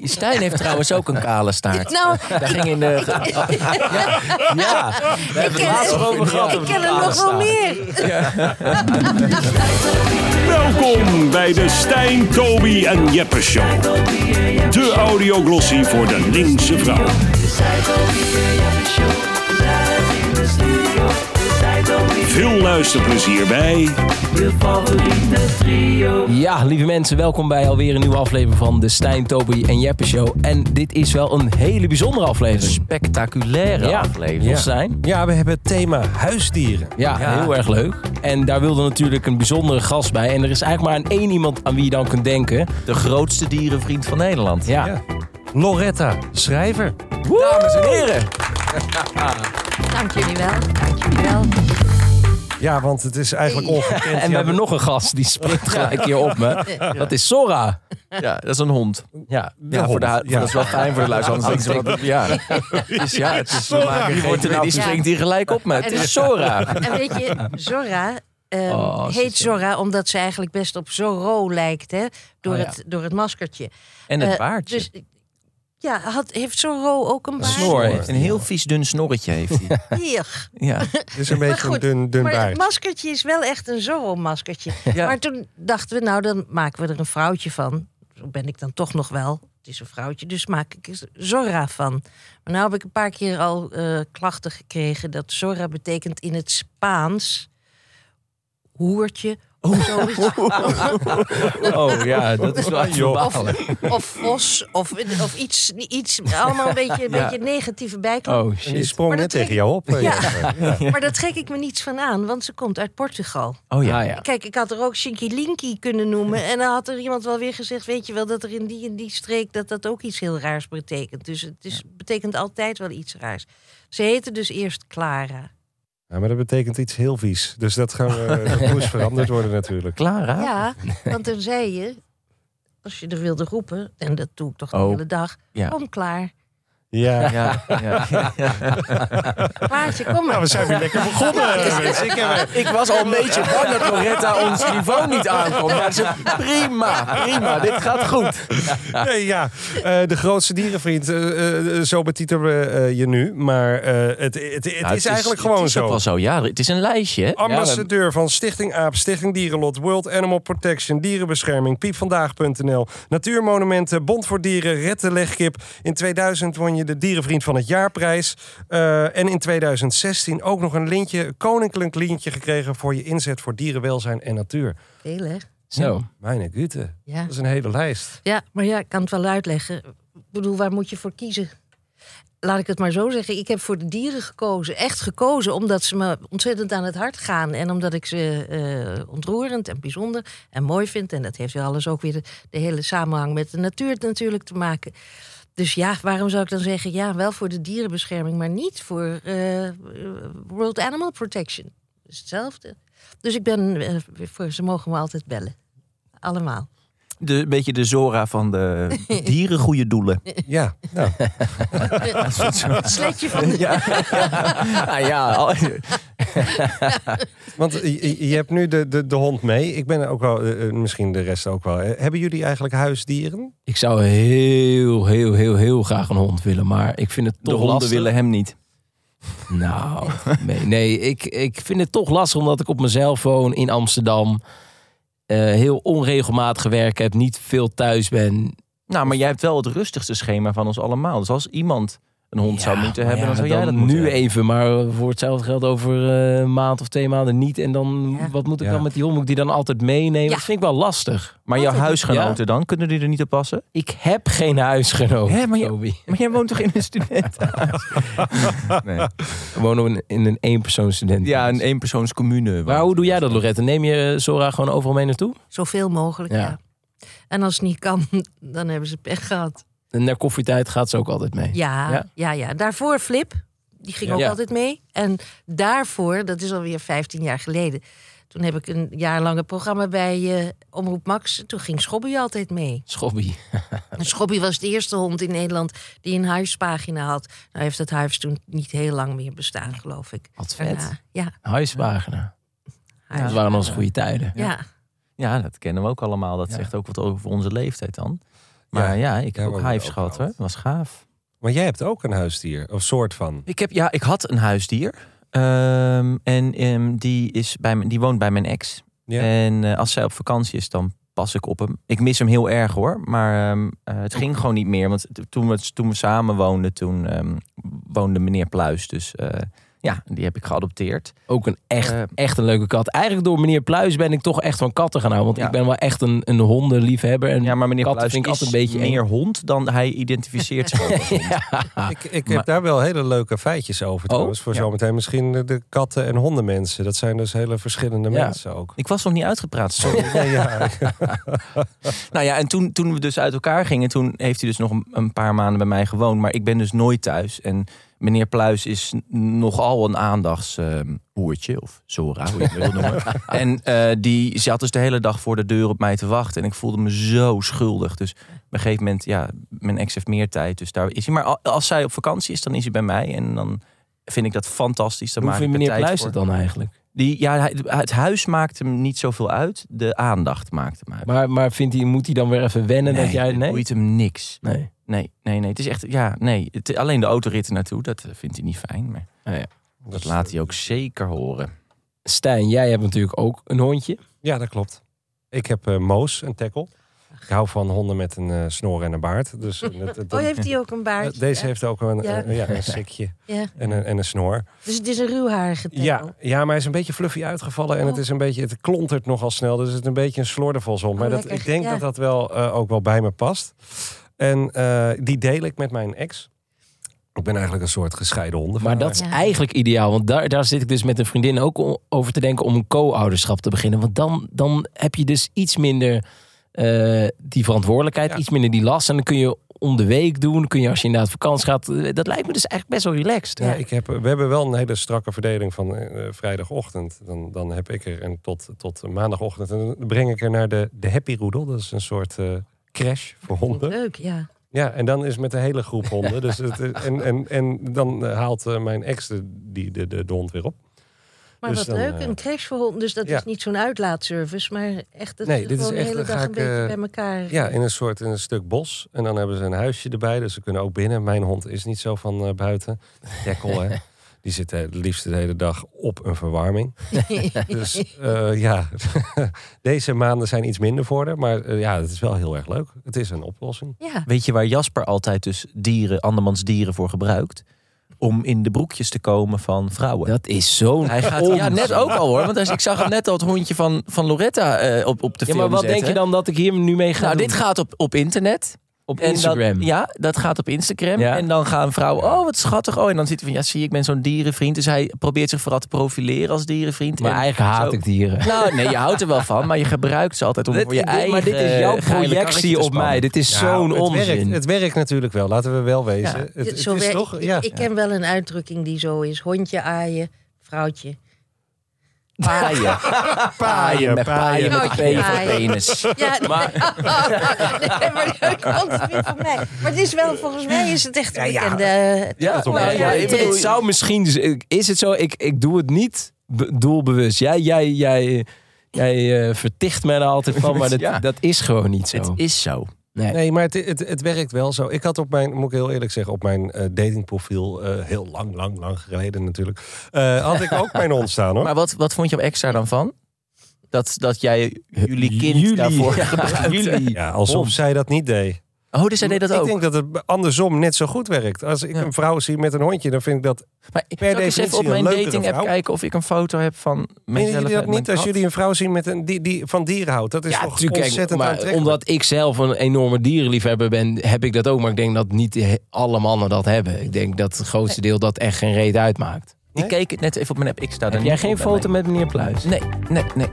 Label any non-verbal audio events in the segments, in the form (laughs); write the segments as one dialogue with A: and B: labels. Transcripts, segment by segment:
A: Die Stijn heeft trouwens ook een kale staart.
B: Nou,
A: Daar ging in de. (laughs) Ja, ja. we hebben het laatst over gehad.
B: ik
A: over
B: ken
A: die kale
B: er nog wel
A: staart.
B: meer.
C: Welkom bij de Stijn, Toby en Jeppe Show. De audioglossie voor de linkse vrouw. Veel luisterplezier bij
A: Ja, lieve mensen, welkom bij alweer een nieuwe aflevering van de Stijn, Toby en Jeppe Show. En dit is wel een hele bijzondere aflevering.
D: spectaculaire
A: Ja,
D: aflevering.
A: ja. Stijn.
E: Ja, we hebben het thema huisdieren.
A: Ja, heel erg leuk. En daar wilde natuurlijk een bijzondere gast bij. En er is eigenlijk maar aan één iemand aan wie je dan kunt denken.
D: De grootste dierenvriend van Nederland.
A: Ja,
E: Ja. Loretta, schrijver.
A: dames en heren.
B: Dank jullie wel. Dank jullie wel.
E: Ja, want het is eigenlijk ongekend.
A: En we hebben nog een gast die springt gelijk hier op me. Dat is Sora.
D: Ja, dat is een hond.
A: Ja,
D: Ja, voor de,
E: hond,
D: hu-
E: ja.
D: dat is wel fijn voor de luisteraars. anders denken ze wat- ja. Dus ja, het is, we maken
A: die,
D: geen
A: wordt er, die
D: grapjes.
A: springt hier gelijk op me. Het is Sora.
B: En weet je, Zora ehm,
A: Oh, ze
B: heet
A: is-
B: Zora omdat ze eigenlijk best op Zorro lijkt, hè? Door,
A: Oh, ja.
B: het, door het maskertje.
D: En het
B: Eh,
D: baardje.
B: Dus, ja, had, heeft Zorro ook een baard?
A: snor heeft
D: Een heel vies dun snorretje heeft hij.
B: Hier.
D: Ja.
E: Het is een
B: Maar
E: beetje
B: goed,
E: een dun, dun
B: maar het
E: baard.
B: maskertje is wel echt een Zorro-maskertje.
D: Ja.
B: Maar toen dachten we, nou dan maken we er een vrouwtje van. Zo ben ik dan toch nog wel. Het is een vrouwtje, dus maak ik er Zorra van. Maar nou heb ik een paar keer al eh, klachten gekregen... dat Zorra betekent in het Spaans... hoertje of zoiets.
A: Oh ja, dat
D: (laughs)
A: is wel echt verbalen.
B: Of vos, of, of iets, iets. Allemaal een beetje, een beetje negatieve bijklank.
A: Oh
E: En die
A: shit.
E: sprong
B: Maar
E: net
B: dat
E: tegen jou op. eh,
B: Ja.
E: Jasper. Ja.
B: Maar daar trek ik me niets van aan, want ze komt uit Portugal.
A: Oh ja. ja.
B: Kijk, ik had er ook Shinky Linky kunnen
D: (laughs)
B: noemen. En dan had er iemand wel weer gezegd, weet je wel, dat er in die en die streek dat dat ook iets heel raars betekent. Dus het is, betekent altijd wel iets raars. Ze heette dus eerst Clara.
E: Ja, maar dat betekent iets heel vies. Dus dat, gaan we, dat moest veranderd worden natuurlijk.
D: Clara? (laughs)
B: Ja, want dan zei je, als je er wilde roepen, en dat doe ik toch de
D: Oh,
B: hele dag,
D: ja.
B: kom
D: (laughs)
B: klaar.
E: Ja.
D: Ja, (laughs) ja.
B: Klaartje, kom maar.
E: Nou, we zijn weer lekker begonnen. mensen. Ik heb,
D: Ik was al een beetje bang dat Loretta ons niveau niet aankomt. Maar ze, prima, prima, dit gaat goed.
E: nee, ja. Eh, de grootste dierenvriend. eh, eh, zo betitelen we eh, je nu. Maar eh, het, het, het,
D: Nou,
E: is eigenlijk gewoon
D: het is ook
E: zo.
D: wel zo. Ja, het is een lijstje. hè?
E: Ambassadeur van Stichting AAP, Stichting Dierenlot, World Animal Protection, Dierenbescherming, piepvandaag.nl, Natuurmonumenten, Bond voor Dieren, Red de Legkip. In 2000 won je de Dierenvriend van het Jaarprijs. Eh, en in 2016 ook nog een lintje, koninklijk lintje gekregen voor je inzet voor dierenwelzijn en natuur.
B: Veel, hè?
A: Zo.
E: Mijn gute,
B: Ja.
E: dat is een hele lijst.
B: Ja, maar ja, ik kan het wel uitleggen. Ik bedoel, waar moet je voor kiezen? Laat ik het maar zo zeggen. Ik heb voor de dieren gekozen. Echt gekozen omdat ze me ontzettend aan het hart gaan. En omdat ik ze eh, ontroerend en bijzonder en mooi vind. En dat heeft wel alles ook weer de, de hele samenhang met de natuur natuurlijk te maken. Dus ja, waarom zou ik dan zeggen... ja, wel voor de dierenbescherming, maar niet voor eh, World Animal Protection. Dat is hetzelfde. Dus ik ben... eh, voor, ze mogen me altijd bellen. Allemaal.
D: De, een beetje de Zora van de dieren goede doelen.
E: Ja, nou,
B: Het sletje van de
A: (laughs)
D: (laughs)
A: Nou
D: Ah, ja, al-
E: want je, je- je hebt nu de, de, de hond mee. Ik ben ook wel, eh, eh, misschien de rest ook wel. Eh, Hebben jullie eigenlijk huisdieren?
A: Ik zou heel, heel, heel, heel graag een hond willen. Maar ik vind het
D: de
A: toch
D: honden
A: lastig.
D: willen hem niet.
A: Nou, nee, nee ik, ik vind het toch lastig omdat ik op mezelf woon in Amsterdam. eh, heel onregelmatig werk heb, niet veel thuis ben.
D: Nou, maar jij hebt wel het rustigste schema van ons allemaal. Dus als iemand een hond zou
A: Ja,
D: moeten
A: maar
D: hebben,
A: ja,
D: dan zou jij dat
A: nu
D: moeten hebben.
A: even, maar voor hetzelfde geld over eh, een maand of twee maanden niet. En dan,
B: Ja.
A: wat moet ik
E: Ja.
A: dan met die hond? Moet ik die dan altijd meenemen?
B: Ja.
A: Dat vind ik wel lastig.
D: Maar jouw
B: Altijd.
D: huisgenoten dan, kunnen die er niet op passen?
A: Ik heb geen huisgenoot.
D: Hè, maar je-
A: Toby.
D: Maar jij woont toch in een student? nee.
A: We wonen in- in een eenpersoonsstudent.
D: Ja, een eenpersoonscommune.
A: dus- Maar hoe doe jij dat, Lorette? Neem je eh, Zora gewoon overal mee naartoe?
B: Zoveel mogelijk,
A: Ja.
B: ja. En als het niet kan, (laughs) dan hebben ze pech gehad.
A: En naar koffietijd gaat ze ook altijd mee.
B: Ja,
A: Ja.
B: ja, ja. Daarvoor Flip, die ging
A: Ja.
B: ook
A: Ja.
B: altijd mee. En daarvoor, dat is alweer 15 jaar geleden... toen heb ik een jaarlange programma bij eh, Omroep Max. Toen ging Schobbie altijd mee.
A: Schobby.
B: En Schobbie was de eerste hond in Nederland die een huispagina had. Nou heeft dat huis toen niet heel lang meer bestaan, geloof ik.
A: Wat vet.
B: Daarna, Ja,
A: Huiswagenen. Dat
B: huis-
A: waren onze goede tijden.
B: ja.
D: Ja, dat kennen we ook allemaal. Dat zegt ook wat over onze leeftijd dan. Ja,
E: Maar,
D: ja, ik heb
E: Ja,
D: ook
E: maar we
D: hives
E: ook
D: gehad hoor.
E: gehad.
D: Was gaaf.
E: maar jij hebt ook een huisdier, of soort van.
D: Ik, heb, ja, ik had een huisdier. Ehm, en ehm, die, is bij mijn, die woont bij mijn ex.
E: Ja.
D: En eh, als zij op vakantie is, dan pas ik op hem. Ik mis hem heel erg hoor. Maar ehm, eh, het ging gewoon niet meer. Want t- toen we, toen we samen woonden, toen ehm, woonde meneer Pluis. Dus eh, ja, die heb ik geadopteerd. Ook een echt,
F: Eh,
D: echt een leuke kat. Eigenlijk door meneer Pluis ben ik toch echt van katten gaan houden.
F: Ja.
D: Want ik ben wel echt een, een hondenliefhebber. En
F: Ja, maar meneer
D: katten
F: Pluis
D: vind ik
F: is
D: altijd een beetje eng.
F: meer hond dan hij identificeert zich ook
D: (laughs)
F: als hond.
E: Ik, ik heb
D: maar-
E: daar wel hele leuke feitjes over trouwens. Voor
F: ja.
E: zometeen misschien de- de katten- en hondenmensen. Dat zijn dus hele verschillende
D: Ja.
E: mensen ook.
D: Ik was nog niet uitgepraat. (laughs) Sorry.
E: Ja, ja.
D: Nou ja, en toen, toen we dus uit elkaar gingen, toen heeft hij dus nog een, een paar maanden bij mij gewoond. Maar ik ben dus nooit thuis. En meneer Pluis is n- nogal een aandachtshoertje, of Zora, hoe je het wil
A: (laughs)
D: noemen. En eh, die zat dus de hele dag voor de deur op mij te wachten. En ik voelde me zo schuldig. Dus op een gegeven moment, ja, mijn ex heeft meer tijd. Dus daar is hij. Maar al- als zij op vakantie is, dan is hij bij mij. En dan vind ik dat fantastisch. Dan
A: Hoe
D: maak
A: vindt
D: ik er
A: meneer
D: tijd
A: Pluis
D: voor.
A: het dan eigenlijk?
D: Die, ja, hij- het huis maakt hem niet zoveel uit. De aandacht maakt hem uit.
A: Maar, maar vindt hij, moet hij dan weer even wennen dat jij...
D: het
A: Nee?
D: boeit hem niks.
A: Nee.
D: Nee, nee, nee. Het is echt, ja, nee. Het, alleen de autoritten naartoe, dat eh, vindt hij niet fijn. Maar dat laat hij ook zeker horen.
A: Stijn, jij hebt natuurlijk ook een hondje.
E: Ja, dat klopt. Ik heb eh, Moos, een tackle. Ik hou van honden met een eh, snor en een baard. Dus, eh, dat- dat-
B: Oh, heeft hij ook een baard?
E: eh, deze
B: ja.
E: heeft ook een,
B: Ja.
E: eh, ja, een
B: (laughs)
E: sikje
B: Ja.
E: en een, en een snor.
B: Dus het is een ruwharige tackle.
E: Ja, ja, maar hij is een beetje fluffy uitgevallen en het, is een beetje, het klontert nogal snel. Dus het is een beetje een slordervalshond.
B: Oh,
E: maar dat,
B: lekker,
E: ik denk
B: ja.
E: dat dat wel, eh, ook wel bij me past. En eh, die deel ik met mijn ex. Ik ben eigenlijk een soort gescheiden honden.
A: Maar dat is
B: Ja.
A: eigenlijk ideaal. Want daar, daar zit ik dus met een vriendin ook o- over te denken om een co-ouderschap te beginnen. Want dan, dan heb je dus iets minder eh, die verantwoordelijkheid,
E: Ja.
A: iets minder die last. En dan kun je om de week doen, kun je als je inderdaad op vakantie gaat. Eh, Dat lijkt me dus eigenlijk best wel relaxed.
E: Ja, ik heb, we hebben wel een hele strakke verdeling van eh, vrijdagochtend. Dan, dan heb ik er en tot, tot maandagochtend. En dan breng ik er naar de, de Happy Roedel. Dat is een soort eh, crash voor honden.
B: Leuk, ja.
E: Ja, en dan is het met de hele groep honden. Dus het, eh, en, en, en dan eh, haalt eh, mijn ex de, die, de, de, de hond weer op.
B: Maar
E: Dus
B: wat
E: dan,
B: leuk,
E: eh,
B: een crash voor honden. Dus dat
E: ja.
B: is niet zo'n uitlaatservice, maar echt dat
E: Nee,
B: ze
E: dit is
B: gewoon
E: echt,
B: de hele
E: dan
B: dag
E: ga
B: een
E: ik,
B: beetje
E: eh,
B: bij elkaar.
E: Ja, in een soort in een stuk bos. En dan hebben ze een huisje erbij. Dus ze kunnen ook binnen. Mijn hond is niet zo van eh, buiten. Dekkel, hè. Die zit eh, het liefst de hele dag op een verwarming. Dus eh, ja, (laughs) deze maanden zijn iets minder voor haar. Maar eh, ja, het is wel heel erg leuk. Het is een oplossing.
B: Ja.
D: Weet je waar Jasper altijd dus dieren, andermans dieren voor gebruikt? Om in de broekjes te komen van vrouwen. Oh.
A: Dat is zo'n
D: hij gaat, ja, net ook al hoor. Want als- ik zag hem net al het hondje van, van Loretta eh, op, op de
A: Ja,
D: film
A: maar wat
D: zetten.
A: denk je dan dat ik hier nu mee ga
D: Nou,
A: doen?
D: dit gaat op, op internet.
A: op
D: En
A: Instagram.
D: Dat, ja, dat gaat op Instagram.
A: Ja.
D: En dan gaan vrouwen, oh wat schattig. Oh, en dan zit hij van, ja zie je, ik ben zo'n dierenvriend. Dus hij probeert zich vooral te profileren als dierenvriend.
A: Maar
D: En
A: eigenlijk haat
D: zo-
A: ik
D: (laughs)
A: dieren.
D: Nou, nee, je houdt er wel van, maar je gebruikt ze altijd om voor je eigen... eh,
A: maar dit is jouw
D: geile karretje
A: projectie
D: te
A: op
D: spannen.
A: mij. Dit is zo'n
E: het Werkt,
A: onzin.
E: het werkt natuurlijk wel, laten we wel wezen.
D: Ja.
E: Het, het
B: Zo
E: is
B: wer-
E: toch,
B: ik,
E: ja.
B: ik ken wel een uitdrukking die zo is. Hondje aaien, vrouwtje.
D: (laughs) Paaien. Paaien met paaien met
B: paaien.
D: paaien van
B: Paaien.
D: penis.
B: (laughs) Ja, maar... oh, nee, maar dat komt niet van mij. Maar het is wel, volgens mij is het echt een bekende... eh,
A: Ja,
E: toch
A: nou
E: wel.
A: ja,
B: Ja,
A: het,
B: ik bedoel-
A: het zou misschien. dus- Is het zo? Ik, ik doe het niet be- doelbewust. Jij, jij, jij, jij eh, verticht mij er altijd van, maar dat,
D: Ja.
A: dat is gewoon niet
D: Het
A: zo.
D: is zo.
A: Nee.
E: Nee, maar het, het, het werkt wel zo. Ik had op mijn, moet ik heel eerlijk zeggen, op mijn eh, datingprofiel, eh, heel lang, lang, lang geleden natuurlijk, eh, had ik ook mijn
D: (laughs)
E: hond staan hoor.
D: Maar wat, wat vond je op extra dan van? Dat, dat jij jullie kind
A: Jullie. (laughs)
D: daarvoor
A: Ja,
D: gebruikt.
A: jullie.
E: ja, alsof
A: hond.
E: zij dat niet deed.
D: Oh, dus zij deed dat
E: ik
D: ook.
E: denk dat het andersom net zo goed werkt. Als ik
D: Ja.
E: een vrouw zie met een hondje, dan vind ik dat...
D: Maar ik zal ik eens even
E: definitie
D: op
E: een
D: mijn
E: leukere
D: dating app
E: vrouw.
D: kijken of ik een foto heb van
E: Menen
D: mezelf.
E: jullie dat
D: en mijn
E: niet? Als
D: kat?
E: jullie een vrouw zien met een, die, die van dieren houdt, dat is
A: Ja,
E: toch
A: natuurlijk. kijk,
E: ontzettend
A: maar
E: aantrekkelijk.
A: omdat ik zelf een enorme dierenliefhebber ben, heb ik dat ook. Maar ik denk dat niet he- alle mannen dat hebben. Ik denk dat het grootste deel dat echt geen reet uitmaakt.
E: Nee?
D: Ik keek het net even op mijn app. Ik sta daar
A: Heb
D: niet
A: jij
D: op
A: geen
D: bij
A: foto met meneer Pluis?
D: mij. Nee, nee, nee.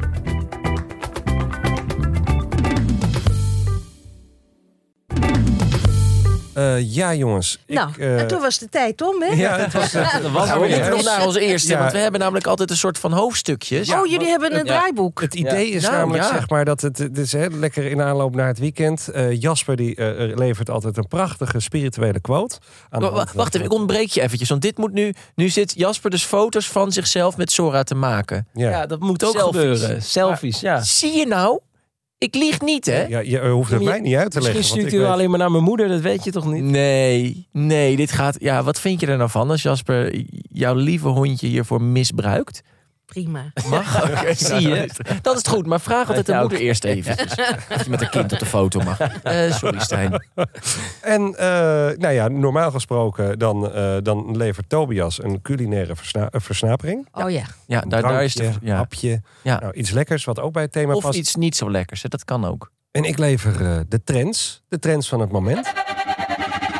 E: Eh, ja, jongens.
B: nou,
E: ik, eh,
B: en toen was de tijd om, hè?
E: (laughs) Ja, het was... eh,
D: Gaan we
E: weer
D: niet
E: eens.
D: nog naar onze eerste?
E: Ja.
D: Want we hebben namelijk altijd een soort van hoofdstukjes.
B: oh, jullie hebben een draaiboek.
E: Het idee is
D: Nou,
E: namelijk
D: ja.
E: zeg maar dat het, het is hè, lekker in aanloop naar het weekend. Eh, Jasper die eh, er levert altijd een prachtige spirituele quote. Aan de
D: Wa- wa-
E: hand van-
D: Wacht even, ik ontbreek je eventjes. Want dit moet nu... Nu zit Jasper dus foto's van zichzelf met Sora te maken.
E: Ja.
A: dat moet ook
D: Selfies.
A: gebeuren. Selfies, ja.
D: Zie je nou?
A: Ik lieg niet, hè?
E: Ja, je hoeft het
A: Ja, maar
E: mij
A: je-
E: niet uit te leggen.
A: Misschien
E: want
A: stuurt
E: ik
A: u
E: weet-
A: alleen maar naar mijn moeder, dat weet je toch niet?
D: Nee, nee, dit gaat... Ja, wat vind je er nou van als Jasper jouw lieve hondje hiervoor misbruikt?
B: Prima.
D: Mag? Oké,
E: nou,
A: Zie je?
D: Dat is het goed, maar vraag altijd de
A: Ja,
D: moeder
A: oké.
D: eerst even. Of je met een kind op de foto mag. Eh, sorry, Stijn.
E: En eh, nou ja, normaal gesproken dan, eh, dan levert Tobias een culinaire versna- eh, versnapering.
B: Oh ja.
D: Ja, daar, daar is de...
E: Drankje,
D: Ja.
E: hapje.
D: Ja.
E: Nou, iets lekkers wat ook bij het thema
D: Of
E: past.
D: iets niet zo lekkers, hè, dat kan ook.
E: En ik lever eh, de trends. De trends van het moment.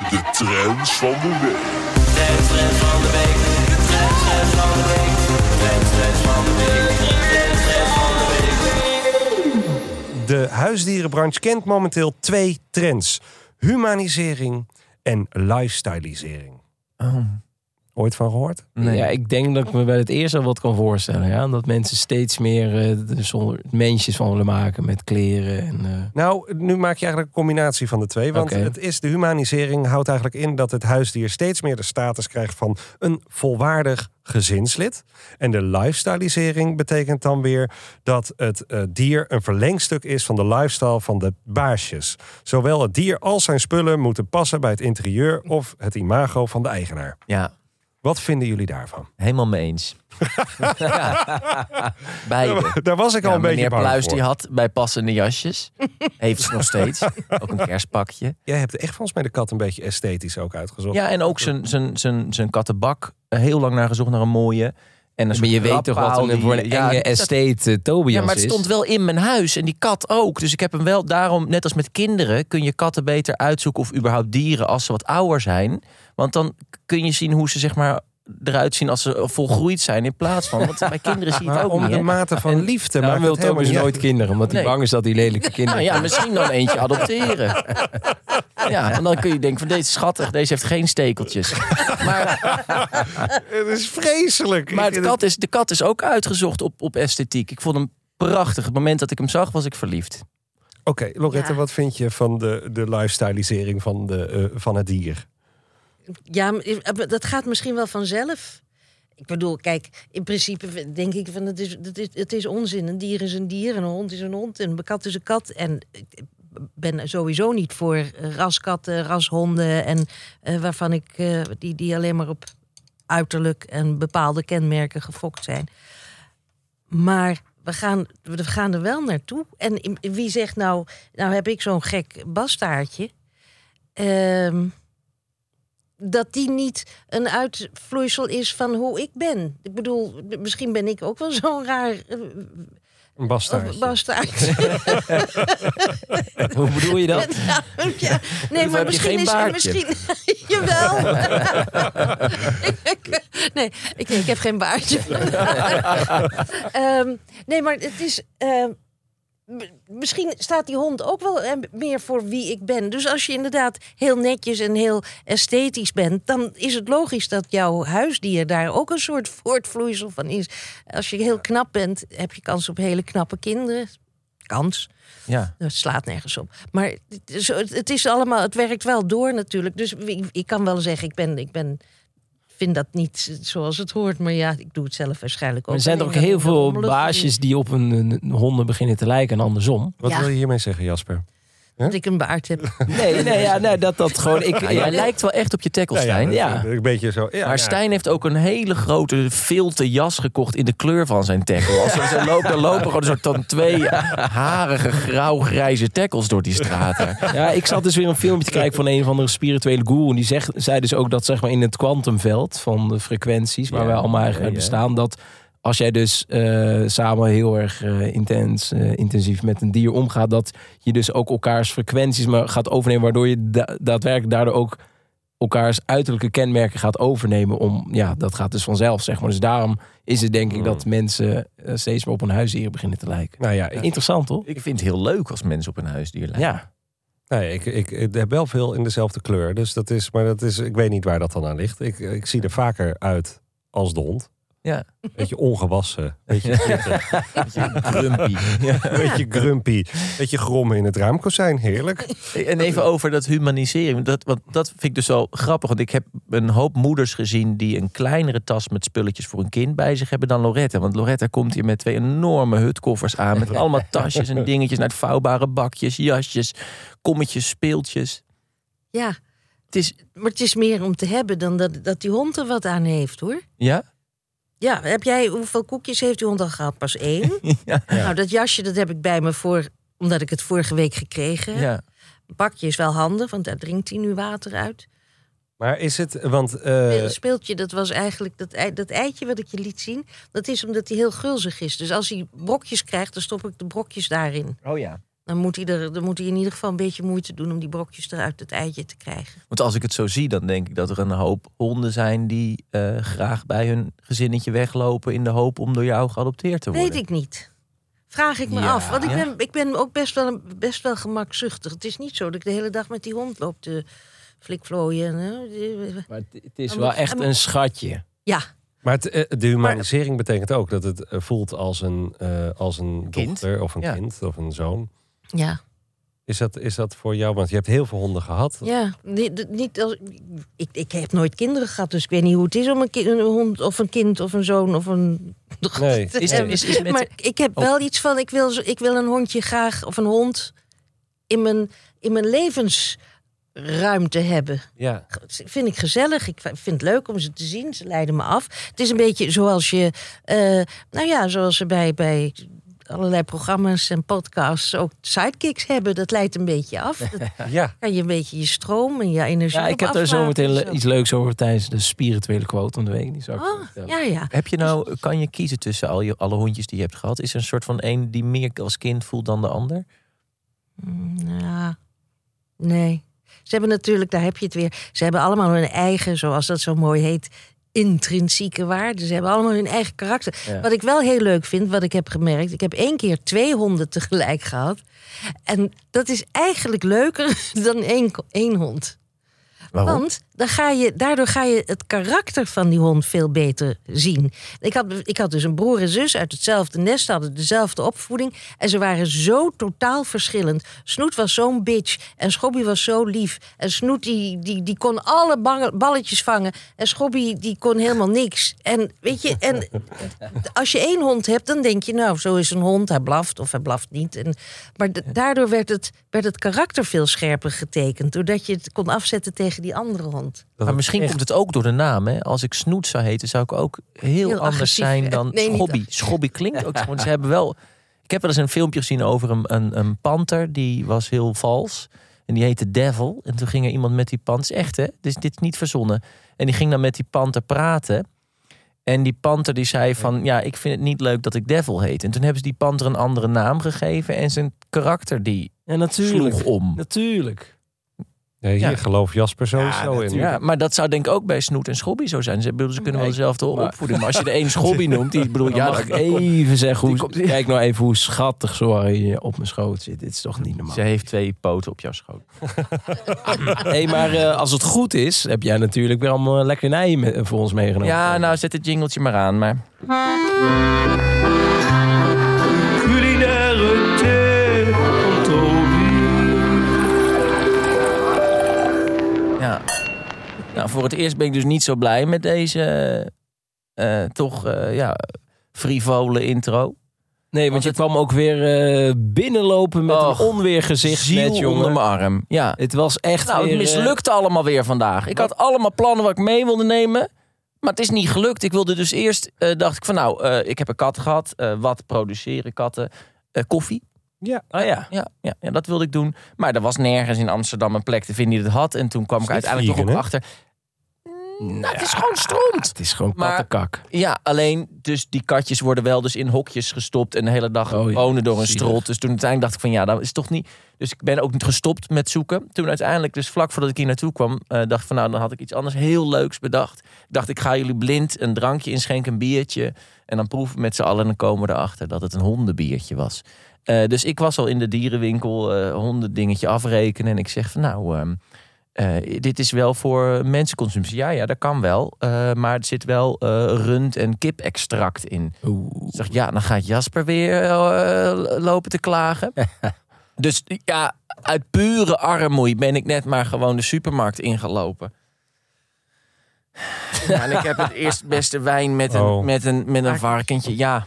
C: De trends van de week.
E: De huisdierenbranche kent momenteel twee trends: humanisering en lifestylisering. Ooit van gehoord?
D: Nee.
A: Ja, ik denk dat ik me bij het eerst al wat kan voorstellen. Ja? Dat mensen steeds meer eh er zonder- mensjes van willen maken met kleren. En, eh,
E: Nou, nu maak je eigenlijk een combinatie van de twee. Want
A: Oké.
E: het is de humanisering houdt eigenlijk in dat het huisdier steeds meer de status krijgt van een volwaardig gezinslid. En de lifestylisering betekent dan weer dat het eh, dier een verlengstuk is van de lifestyle van de baasjes. Zowel het dier als zijn spullen moeten passen bij het interieur of het imago van de eigenaar.
D: Ja,
E: Wat vinden jullie daarvan?
D: helemaal mee
E: (laughs)
D: eens. ja. Beide.
E: Daar was ik al
D: Ja,
E: een beetje
D: meneer
E: bang
D: Pluis
E: voor.
D: die had bijpassende jasjes. Heeft ze nog
E: (laughs)
D: steeds. Ook een kerstpakje.
E: Jij hebt echt volgens mij de kat een beetje esthetisch ook uitgezocht.
D: Ja, en ook zijn, zijn, zijn, zijn kattenbak. eh, Heel lang naar gezocht, naar een mooie. En een
A: maar je
D: soort
A: weet toch wat
D: rappaal
A: een, voor een
D: die- ja,
A: enge
D: dat-
A: estate eh, Tobias
D: Ja, maar het
A: is?
D: stond wel in mijn huis en die kat ook. Dus ik heb hem wel, daarom, net als met kinderen, kun je katten beter uitzoeken of überhaupt dieren als ze wat ouder zijn. Want dan k- kun je zien hoe ze zeg maar eruit zien als ze volgroeid zijn in plaats van. Want bij kinderen zie je het
E: Maar
D: ook Nou,
E: om
D: niet.
E: de
D: hè?
E: mate
D: (laughs)
E: van liefde.
A: Daarom
E: maakt
A: wil
E: het helemaal
A: Tobias
E: niet
A: nooit
E: uit.
A: kinderen, omdat hij
D: Nee.
A: bang is dat hij lelijke
D: Nou
A: kinderen
D: ja, misschien dan eentje adopteren. Ja, en dan kun je denken van deze is schattig, deze heeft geen stekeltjes. Maar,
E: Het is vreselijk.
D: maar
E: Ik-
D: de, kat is, de kat is ook uitgezocht op, op esthetiek. Ik vond hem prachtig. Het moment dat ik hem zag, was ik verliefd.
E: Oké, Lorette,
B: Ja.
E: wat vind je van de, de lifestylisering van, de, eh, van het dier?
B: Ja, maar, eh, dat gaat misschien wel vanzelf. Ik bedoel, kijk, in principe denk ik van het is, het is, het is onzin. Een dier is een dier en een hond is een hond en een kat is een kat. En ik ben sowieso niet voor eh, raskatten, rashonden en eh, waarvan ik eh, die, die alleen maar op uiterlijk en bepaalde kenmerken gefokt zijn. Maar we gaan, we gaan er wel naartoe. En in- wie zegt nou, nou heb ik zo'n gek bastaardje. Ehm, dat die niet een uitvloeisel is van hoe ik ben. Ik bedoel, m- misschien ben ik ook wel zo'n raar eh,
E: Een bastaardje.
B: bastaard.
A: is. Hoe bedoel je dat?
B: Nou, (laughs) ja. Nee,
D: heb je
B: maar misschien
D: geen
B: is
D: baardje.
B: misschien. (laughs) Jawel. (laughs)
D: (laughs)
B: nee, ik, nee, ik heb geen baardje. (laughs) Ehm, nee, maar het is. ehm, m- Misschien staat die hond ook wel eh, meer voor wie ik ben. Dus als je inderdaad heel netjes en heel esthetisch bent, dan is het logisch dat jouw huisdier daar ook een soort voortvloeisel van is. Als je heel knap bent, heb je kans op hele knappe kinderen. Kans.
D: Ja.
B: Het slaat nergens op. Maar het is- het is allemaal, het werkt wel door natuurlijk. Dus ik, ik kan wel zeggen, ik ben, ik ben, vind dat niet zoals het hoort. Maar ja, ik doe het zelf waarschijnlijk ook.
A: Er zijn
B: En
A: toch
B: ik-
A: heel veel
B: rommelig-
A: baasjes die op een, een honden beginnen te lijken en andersom.
E: Wat
B: Ja.
E: wil je hiermee zeggen, Jasper?
B: Dat ik een baard heb.
A: (laughs) Nee, nee, (laughs) ja, nee dat dat gewoon... Ik,
D: Ja, jij lijkt wel echt op je tackle,
E: Nou
D: Stijn.
E: dat-
A: ja.
E: Een beetje zo. Ja,
D: maar
E: ja.
D: Stijn heeft ook een hele grote filte jas gekocht in de kleur van zijn tackle. Als hij zo loopt, dan lopen gewoon een soort van twee harige, grauw-grijze tackles door die straten.
A: Ja, ik zat dus weer een filmpje te kijken van een of andere spirituele guru. En die zegt, zei dus ook dat zeg maar in het kwantumveld van de frequenties waar
D: Ja,
A: wij allemaal eigenlijk
D: ja,
A: uit
D: ja.
A: bestaan, dat als jij dus eh, samen heel erg eh, intens, eh, intensief met een dier omgaat, dat je dus ook elkaars frequenties maar gaat overnemen, waardoor je da- daadwerkelijk daardoor ook elkaars uiterlijke kenmerken gaat overnemen. Om, ja, dat gaat dus vanzelf, zeg maar. Dus daarom is het denk ik dat mensen eh, steeds meer op een huisdier beginnen te lijken.
E: Nou ja, ik,
A: Interessant, toch?
D: Ik vind het heel leuk als mensen op een huisdier lijken.
A: Ja.
E: nou ja, ik, ik, ik heb wel veel in dezelfde kleur. Dus dat is, maar dat is, ik weet niet waar dat dan aan ligt. Ik, ik zie er vaker uit als de hond.
D: Ja.
E: Beetje ongewassen. Beetje
D: (laughs)
E: pittig.
D: Grumpy.
E: beetje grumpy. Beetje grommen in het raamkozijn. Heerlijk.
D: En even over dat humaniseren. Dat, want dat vind ik dus wel grappig. Want ik heb een hoop moeders gezien die een kleinere tas met spulletjes voor hun kind bij zich hebben dan Loretta. Want Loretta komt hier met twee enorme hutkoffers aan. Met allemaal tasjes en dingetjes naar het vouwbare bakjes, jasjes, kommetjes, speeltjes.
B: Ja,
D: Het is,
B: maar het is meer om te hebben dan dat, dat die hond er wat aan heeft, hoor.
D: ja?
B: Ja, heb jij, hoeveel koekjes heeft die hond al gehad? Pas
A: (laughs)
B: één?
D: Ja.
B: Nou, dat jasje dat heb ik bij me voor, omdat ik het vorige week gekregen heb.
D: ja.
B: Een bakje is wel handig, want daar drinkt hij nu water uit.
E: Maar is het, want eh,
D: Eh,
B: Het speeltje, dat was eigenlijk dat, ei- dat eitje wat ik je liet zien. Dat is omdat hij heel gulzig is. Dus als hij brokjes krijgt, dan stop ik de brokjes daarin.
D: Oh ja.
B: Dan moet, hij er, dan moet hij in ieder geval een beetje moeite doen om die brokjes eruit het eitje te krijgen.
D: Want als ik het zo zie, dan denk ik dat er een hoop honden zijn die eh, graag bij hun gezinnetje weglopen in de hoop om door jou geadopteerd te worden.
B: Weet ik niet. Vraag ik me
D: Ja.
B: af. Want ik
D: Ja.
B: ben, ik ben ook best wel, een- best wel gemakzuchtig. Het is niet zo dat ik de hele dag met die hond loop te flikvlooien. hè.
A: Maar het, het is
B: Dan
A: wel
B: moet-
A: echt
B: dan moet-
A: een schatje.
B: Ja,
E: Maar het, eh, de humanisering betekent ook dat het eh, voelt als een, eh, als een
D: Kind.
E: dochter of een
D: Ja.
E: kind of een zoon.
B: ja.
E: Is dat, is dat voor jou? Want je hebt heel veel honden gehad.
B: Ja, niet, de- niet als, ik, ik heb nooit kinderen gehad, dus ik weet niet hoe het is om een, ki- een hond of een kind of een zoon of een. (laughs)
E: Nee,
B: te
D: Is-
B: hebben.
D: is- is met-
B: Maar ik heb
D: Oh.
B: wel iets van: ik wil, zo- ik wil een hondje graag of een hond in mijn, in mijn levensruimte hebben.
E: Ja.
B: Vind ik gezellig. Ik vind het leuk om ze te zien. Ze leiden me af. Het is een beetje zoals je, eh, nou ja, zoals ze bij, bij allerlei programma's en podcasts ook sidekicks hebben. Dat leidt een beetje af.
D: (laughs)
B: Dat-
E: ja.
B: kan je een beetje je stroom en je energie.
A: Ja, ik
B: op
A: heb daar
B: afvragen
A: zo meteen
B: en
A: le- iets leuks over tijdens de spirituele quote van de week. Die zou ik
B: Oh,
A: vertellen.
B: ja, ja.
D: Heb je nou, kan je kiezen tussen al je, alle hondjes die je hebt gehad? Is er een soort van één die meer als kind voelt dan de ander?
B: ja. Nee. Ze hebben natuurlijk, daar heb je het weer. Ze hebben allemaal hun eigen, zoals dat zo mooi heet, intrinsieke waarde. Ze hebben allemaal hun eigen karakter.
D: Ja.
B: Wat ik wel heel leuk vind, wat ik heb gemerkt. Ik heb één keer twee honden tegelijk gehad. En dat is eigenlijk leuker (laughs) dan één, ko- één hond.
D: Waarom?
B: Want dan ga je, daardoor ga je het karakter van die hond veel beter zien. Ik had, ik had dus een broer en zus uit hetzelfde nest, hadden dezelfde opvoeding. En ze waren zo totaal verschillend. Snoet was zo'n bitch en Schobby was zo lief. En Snoet die, die, die kon alle bange- balletjes vangen. En Schobby die kon helemaal niks. En weet je, en als je één hond hebt, dan denk je, nou, zo is een hond, hij blaft of hij blaft niet. En, maar da- daardoor werd het, werd het karakter veel scherper getekend, doordat je het kon afzetten tegen die andere hond.
E: Dat
D: maar misschien komt het ook door de naam. Hè? Als ik Snoet zou heten, zou ik ook heel,
B: Heel
D: anders
B: agressief,
D: zijn
B: hè?
D: dan
B: Nee, niet
D: Schobby. Schobby klinkt ook. Want ze hebben wel. Ik heb wel eens een filmpje gezien over een, een, een panter. Die was heel vals. En die heette Devil. En toen ging er iemand met die panter. het is Echt hè? Dus dit is niet verzonnen. En die ging dan met die panter praten. En die panter die zei van... Ja, ik vind het niet leuk dat ik Devil heet. En toen hebben ze die panter een andere naam gegeven. En zijn karakter die
A: Ja, natuurlijk.
D: sloeg om.
A: Natuurlijk.
E: Ja, hier
D: Ja.
E: gelooft Jasper sowieso in.
D: Ja, maar dat zou denk ik ook bij Snoet en Schobby zo zijn. Ze, bedoelen, ze kunnen wel dezelfde
A: maar-
D: opvoeding. Maar als je (laughs) de een Schobby noemt, die bedoel
A: Ja,
D: ja,
A: mag
D: dan-
A: ik even zeggen hoe...
D: komt-
A: Kijk nou even hoe schattig Zoari op mijn schoot zit. Dit is toch niet normaal.
D: Ze heeft twee poten op jouw schoot.
A: hey, maar eh, als het goed is, heb jij natuurlijk weer allemaal lekkernijen me- eh, voor ons meegenomen.
D: Ja, nou zet het jingeltje maar aan. Maar
C: Culinaire thee van Toby.
D: ja. Nou, voor het eerst ben ik dus niet zo blij met deze eh, eh, toch eh, ja, frivole intro.
A: Nee, want je kwam ook weer eh, binnenlopen met
D: Och,
A: een onweergezicht
D: Ziel
A: net, jongen.
D: onder mijn arm. Ja.
A: Het was echt
D: Nou, het
A: weer, eh,
D: mislukte allemaal weer vandaag. Ik had allemaal plannen wat ik mee wilde nemen. Maar het is niet gelukt. Ik wilde dus eerst, eh, dacht ik van nou, eh, ik heb een kat gehad. Eh, wat produceren katten? Eh, koffie.
E: Ja.
D: Oh ja. Ja, ja. ja, dat wilde ik doen. Maar er was nergens in Amsterdam een plek te vinden die dat had. En toen kwam ik
E: niet
D: uiteindelijk toch op
E: vegan,
D: achter. Nou, het is gewoon stront.
A: ah, Het is gewoon
D: Maar-
A: kattenkak.
D: Ja, alleen dus die katjes worden wel dus in hokjes gestopt en de hele dag
A: Oh ja,
D: wonen door een
A: zielig.
D: strot. Dus toen uiteindelijk dacht ik van ja, dat is toch niet. Dus ik ben ook niet gestopt met zoeken. Toen uiteindelijk, dus vlak voordat ik hier naartoe kwam, eh, dacht ik van nou, dan had ik iets anders heel leuks bedacht. Ik dacht ik ga jullie blind een drankje inschenken, een biertje. En dan proeven we met z'n allen en dan komen we erachter dat het een hondenbiertje was. Eh, dus ik was al in de dierenwinkel eh hondendingetje afrekenen en ik zeg van nou, ehm, eh, dit is wel voor mensenconsumptie. Ja, ja, dat kan wel. eh, maar er zit wel eh, rund- en kipextract in. Ik dacht, ja, dan gaat Jasper weer eh, lopen te (laughs) klagen. dus ja, uit pure armoei ben ik net maar gewoon de supermarkt ingelopen. Ja, en ik heb het eerst beste wijn met een,
E: Oh.
D: met een, met een varkentje. Ja,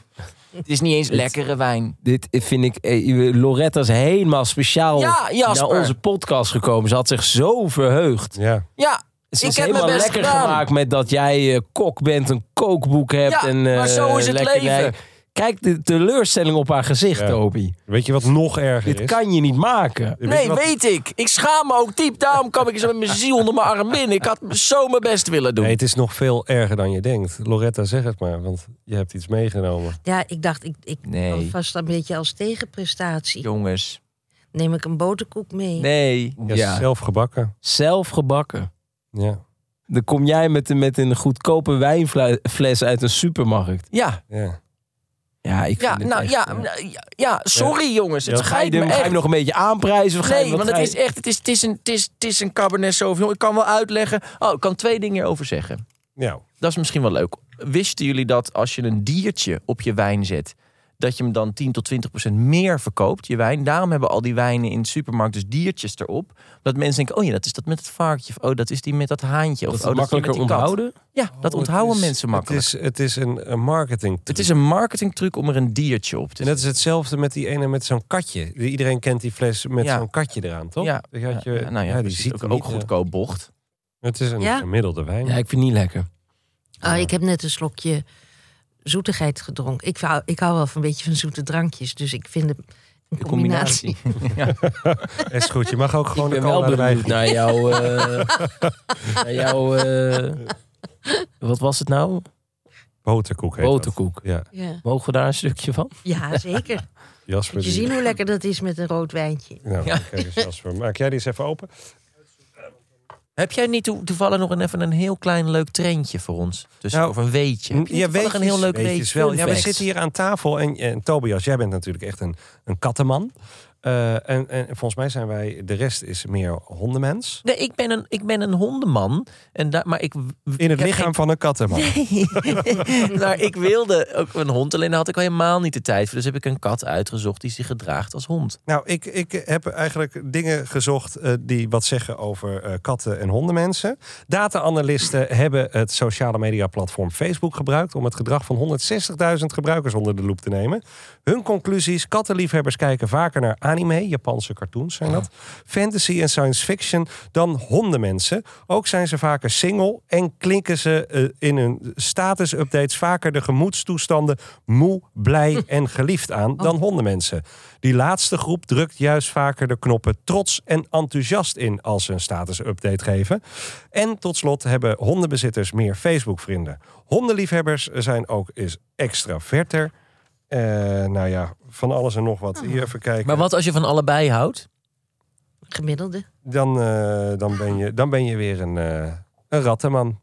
D: het is niet eens lekkere wijn.
A: Dit vind ik. eh, Loretta is helemaal speciaal
D: Ja,
A: naar
D: Jasper.
A: onze podcast gekomen. Ze had zich zo verheugd.
E: Ja.
D: Ja,
A: Ze
D: ik
A: is
D: heb mijn
A: helemaal
D: best
A: lekker
D: gedaan.
A: gemaakt met dat jij eh, kok bent, een kookboek hebt.
D: Ja,
A: en, eh,
D: maar zo is het
A: lekkernij.
D: leven.
A: Kijk de teleurstelling op haar gezicht,
E: Ja.
A: Toby.
E: Weet je wat nog erger
A: Dit
E: is?
A: kan je niet maken.
E: Weet je
D: Nee,
E: wat-
D: weet ik. Ik schaam me ook diep. Daarom kwam ik zo met mijn ziel onder mijn arm binnen. Ik had zo mijn best willen doen.
E: Nee, het is nog veel erger dan je denkt. Loretta, zeg het maar, want je hebt iets meegenomen.
B: Ja, ik dacht, ik, ik
D: Nee.
B: kwam vast een beetje als tegenprestatie.
D: Jongens.
B: Neem ik een boterkoek mee.
A: Nee,
E: Ja,
A: ja.
E: Zelf gebakken.
A: zelf gebakken.
E: Ja.
A: Dan kom jij met, een- met een goedkope wijnfles uit een supermarkt.
D: Ja,
E: ja.
A: Ja, ik vind
D: ja,
A: het
D: nou
A: echt,
D: ja,
A: eh,
D: nou, ja, ja, sorry jongens. Het
E: Ja,
A: Ga je,
D: schijt me
A: hem, ga je hem
D: echt.
A: nog een beetje aanprijzen? Of ga je
D: Nee,
A: hem wat
D: want het is
A: prijzen?
D: echt, het is, het is, een, het is, het is een cabernet sauvignon. Ik kan wel uitleggen. Oh, ik kan twee dingen hierover zeggen.
E: Nou,
D: Dat is misschien wel leuk. Wisten jullie dat als je een diertje op je wijn zet, dat je hem dan 10 tot 20 procent meer verkoopt, je wijn? Daarom hebben al die wijnen in de supermarkt dus diertjes erop. Dat mensen denken, oh ja, dat is dat met het varkentje. Of oh, dat is die met dat haantje. Of
A: Dat is
D: oh, dat is die
A: makkelijker
D: met die kat.
A: onthouden.
D: Ja, dat onthouden mensen makkelijk.
E: Het Oh, is, het is een, een marketing.
D: Het is een marketingtruc om er een diertje op te
E: En dat is hetzelfde met die ene met zo'n katje. Iedereen kent die fles met
D: Ja.
E: zo'n katje eraan, toch?
D: Ja.
E: Die had je,
D: Ja, nou ja,
E: die
D: precies.
E: ziet
D: ook,
E: er
D: ook
E: niet, eh,
D: goedkoop bocht.
E: Het is een
B: Ja?
E: gemiddelde wijn.
A: Ja, ik vind het niet lekker.
B: Ah, ik heb net een slokje zoetigheid gedronken. Ik hou, ik hou wel van een beetje van zoete drankjes. Dus ik vind de, een combinatie.
E: Is goed, je mag ook gewoon
A: (laughs) Ik
E: de
A: ben wel
E: cola erbij.
A: benieuwd naar
D: (laughs)
A: jouw... eh, naar jouw eh, wat was het nou?
E: Boterkoek heet dat.
A: Boterkoek.
E: Ja,
B: (laughs) Ja.
A: Mogen we daar een stukje van?
B: ja, zeker.
E: (laughs) Jasper.
B: Moet je
E: die-
B: zien hoe lekker dat is met een rood wijntje.
E: Nou, kijk eens, Jasper. Maak jij die eens even open?
D: Heb jij niet toe- toevallig nog een, even een heel klein leuk treintje voor ons? Dus
E: Nou,
D: of een weetje. Heb je niet toevallig een heel leuk
E: weetjes
D: weetje.
E: wel. Ja, we
D: Fun
E: zitten
D: fact.
E: hier aan tafel en, en Tobias, jij bent natuurlijk echt een, een kattenman. Eh, en, en volgens mij zijn wij, de rest is meer hondenmens.
D: Nee, ik ben een, ik ben een hondenman. En daar, maar ik,
E: In het
D: ik heb
E: lichaam van een kattenman.
D: geen- (laughs) maar ik wilde ook een hond, alleen daar had ik al helemaal niet de tijd voor. Dus heb ik een kat uitgezocht die zich gedraagt als hond.
E: Nou, ik, ik heb eigenlijk dingen gezocht eh, die wat zeggen over eh, katten en hondenmensen. Data-analisten hebben het sociale media platform Facebook gebruikt om het gedrag van 160.000 gebruikers onder de loep te nemen. Hun conclusies: kattenliefhebbers kijken vaker naar anime, Japanse cartoons zijn dat, fantasy en science fiction dan hondenmensen. Ook zijn ze vaker single en klinken ze eh, in hun status-updates vaker de gemoedstoestanden moe, blij en geliefd aan dan hondenmensen. Die laatste groep drukt juist vaker de knoppen trots en enthousiast in als ze een status-update geven. En tot slot hebben hondenbezitters meer Facebook-vrienden. Hondenliefhebbers zijn ook eens extraverter. Eh, nou ja, van alles en nog wat. Hier even kijken.
D: Maar wat als je van allebei houdt?
B: Gemiddelde.
E: Dan, eh, dan, ben, je, dan ben je weer een, eh een (laughs) rattenman.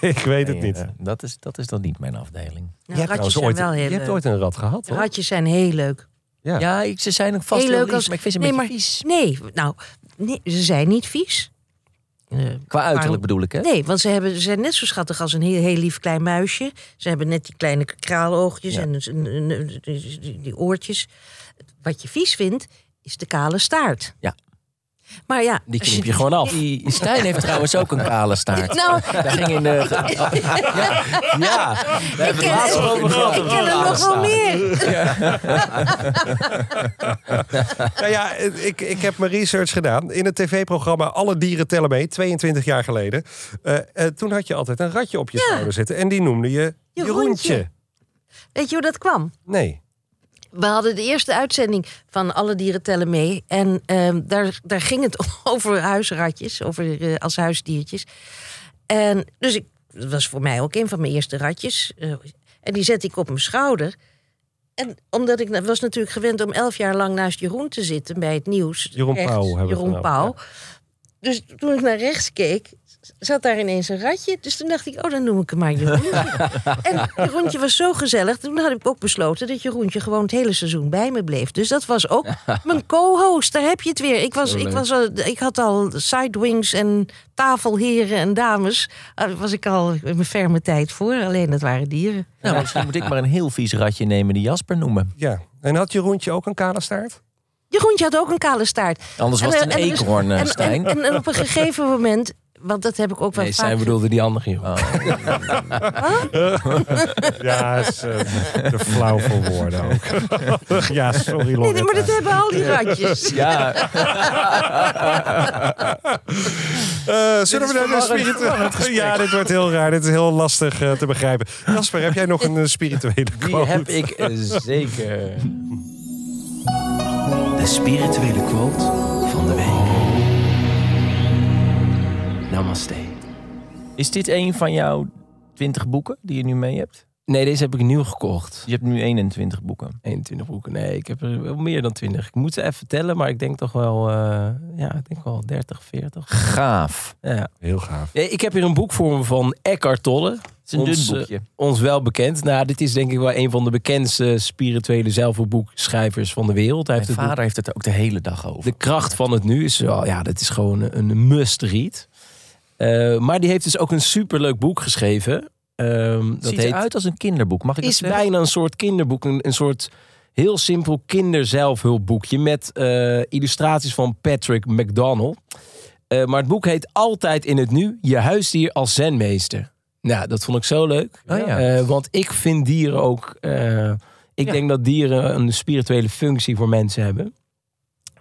E: ik weet het
D: Nee,
E: niet.
D: eh, dat, is, dat is dan niet mijn afdeling.
B: Nou,
E: Je hebt
B: ratjes
E: trouwens
B: zijn
E: ooit-
B: wel heel
E: je hebt
B: leuk.
E: ooit een rat gehad, hoor.
B: Ratjes zijn heel leuk.
E: Ja.
D: Ja, ik, ze zijn ook vast
B: Heel
D: heel,
B: leuk
D: lief,
B: als-
D: maar ik vind ze een
B: Nee,
D: beetje
B: maar-
D: vies.
B: Nee, nou, nee, ze zijn niet vies. Eh,
D: Qua
B: waarom-
D: uiterlijk bedoel ik, hè?
B: Nee, want ze, hebben, ze zijn net zo schattig als een heel, heel lief klein muisje. Ze hebben net die kleine kraaloogjes
D: Ja.
B: en een- een- een- die, die- die oortjes. Wat je vies vindt, is de kale staart.
D: Ja.
B: Maar ja...
A: Die
B: als
A: knip je gewoon af.
D: Die Stijn heeft trouwens ook een kale staart.
B: Nou,
D: Daar ging in de...
A: Ja, we hebben het laatst over gehad.
B: ik ken er nog wel meer.
E: (laughs) Nou ja, ik, ik heb mijn research gedaan. In het tv-programma Alle Dieren Tellen Mee, 22 jaar geleden. eh, eh, toen had je altijd een ratje op je schouder zitten. En die noemde je
B: Je
E: Jeroentje.
B: rondje. Weet je hoe dat kwam?
E: Nee.
B: We hadden de eerste uitzending van Alle Dieren Tellen Mee. En ehm, daar, daar ging het (laughs) over huisratjes, over eh, als huisdiertjes. En dus ik, dat was voor mij ook een van mijn eerste ratjes. eh, en die zette ik op mijn schouder. En omdat ik na- was natuurlijk gewend om elf jaar lang naast Jeroen te zitten bij het nieuws.
E: Jeroen
B: rechts,
E: Pauw hebben we
B: Jeroen
E: het dan over,
B: Pauw. Dus toen ik naar rechts keek, zat daar ineens een ratje. Dus toen dacht ik, oh, dan noem ik hem maar Jeroentje. en Jeroentje was zo gezellig. Toen had ik ook besloten dat Jeroentje gewoon het hele seizoen bij me bleef. Dus dat was ook mijn co-host. Daar heb je het weer. Ik, was, ik, was, al- ik had al sidewings en tafelheren en dames. Daar was ik al in mijn ferme tijd voor. Alleen dat waren dieren.
D: (laughs) Nou, misschien moet ik maar een heel vies ratje nemen die Jasper noemen.
E: Ja. En had Jeroentje ook een kale staart?
B: Jeroentje had ook een kale staart.
D: Anders was
B: En,
D: het een
B: eh, en er is-
D: eekhoorn, eh,
B: en,
D: Stijn.
B: En, en op een gegeven moment, want dat heb ik ook wel
A: Nee,
B: vaak...
A: zij bedoelde die andere Jeroen.
D: Oh.
E: Ja, is eh, te flauw voor woorden ook. (laughs) ja, sorry
B: Nee, nee, maar dat
E: Loretta.
B: hebben al die ratjes.
D: (laughs) Ja,
E: Eh, zullen we naar de spirituele... (laughs) Ja, dit wordt heel raar. Dit is heel lastig eh, te begrijpen. Jasper, heb jij nog een eh, spirituele
A: Die
E: quote?
A: heb ik eh, zeker.
D: De spirituele quote van de week.
A: Namaste.
D: Is dit een van jouw 20 boeken die je nu mee hebt?
A: Nee, deze heb ik nieuw gekocht.
D: Je hebt nu 21 boeken.
A: 21 boeken. Nee, ik heb er wel meer dan 20. Ik moet ze even tellen, maar ik denk toch wel, eh, ja, ik denk wel 30,
D: (laughs)
A: 40.
D: Gaaf.
A: Ja.
E: Heel gaaf.
A: Nee, ik heb hier een boek voor me van Eckhart Tolle.
D: Het is een
A: Ons, eh,
D: dun boekje.
A: ons wel bekend. Nou, dit is denk ik wel een van de bekendste spirituele zelfboekschrijvers van de wereld. Hij heeft
D: Mijn
A: het boek
D: vader heeft het er ook de hele dag over.
A: De kracht van het nu is wel, ja, dat is gewoon een een must read. Eh, maar die heeft dus ook een superleuk boek geschreven. Ehm,
D: Het
A: dat
D: ziet
A: heet
D: eruit als een kinderboek. Mag ik dat
A: is
D: zeggen?
A: bijna een soort kinderboek. Een, een soort heel simpel kinderzelfhulpboekje. Met eh, illustraties van Patrick McDonald. Eh, maar het boek heet Altijd in het Nu. Je huisdier als zenmeester. Nou, dat vond ik zo leuk.
D: Oh ja.
A: Eh, want ik vind dieren ook... eh, ik denk dat dieren een spirituele functie voor mensen hebben.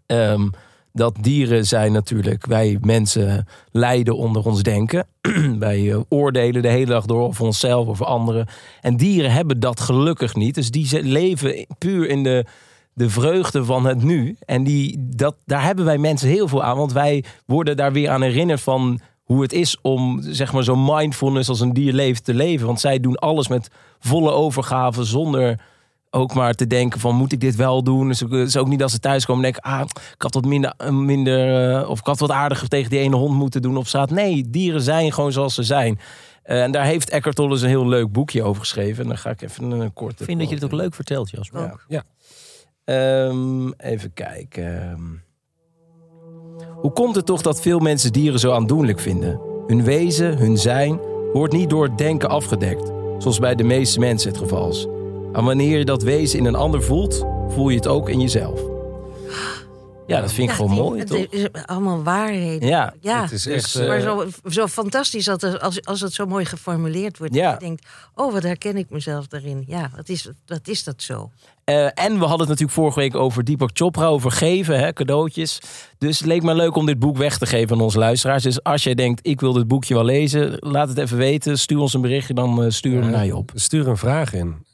A: Ehm, dat dieren zijn natuurlijk... Wij mensen lijden onder ons denken. (clears throat) wij eh, oordelen de hele dag door over onszelf, over anderen. En dieren hebben dat gelukkig niet. Dus die ze- leven puur in de, de vreugde van het nu. En die, dat, daar hebben wij mensen heel veel aan. Want wij worden daar weer aan herinnerd van hoe het is om zeg maar, zo'n mindfulness als een dier leeft te leven. Want zij doen alles met volle overgave zonder ook maar te denken van moet ik dit wel doen? Dus ook, dus ook niet als ze thuiskomen denken ah ik had wat minder, eh, minder eh, of ik had wat aardiger tegen die ene hond moeten doen op straat. Nee, dieren zijn gewoon zoals ze zijn. Eh, en daar heeft Eckhart Tolle eens een heel leuk boekje over geschreven. En dan ga ik even een, een korte.
D: Ik vind dat je het ook leuk vertelt, Jasper.
A: Ja. ja. Ehm, even kijken. Ehm, Hoe komt het toch dat veel mensen dieren zo aandoenlijk vinden? Hun wezen, hun zijn, wordt niet door het denken afgedekt, zoals bij de meeste mensen het geval is. En wanneer je dat wezen in een ander voelt, voel je het ook in jezelf. Ja, dat vind ik gewoon
B: die-
A: mooi,
B: het
A: toch?
B: is allemaal waarheden.
A: Ja,
B: ja.
E: Het is
A: dus,
E: echt...
A: eh,
B: maar zo, zo fantastisch dat er- als, als het zo mooi geformuleerd wordt.
A: Ja.
B: Dat je denkt, oh, wat herken ik mezelf daarin. Ja, wat is, wat is dat zo?
A: Eh, en we hadden het natuurlijk vorige week over Deepak Chopra, over geven, hè, cadeautjes. Dus het leek me leuk om dit boek weg te geven aan onze luisteraars. Dus als jij denkt, ik wil dit boekje wel lezen, laat het even weten. Stuur ons een berichtje, dan eh, sturen we hem naar je op.
E: Stuur een vraag in.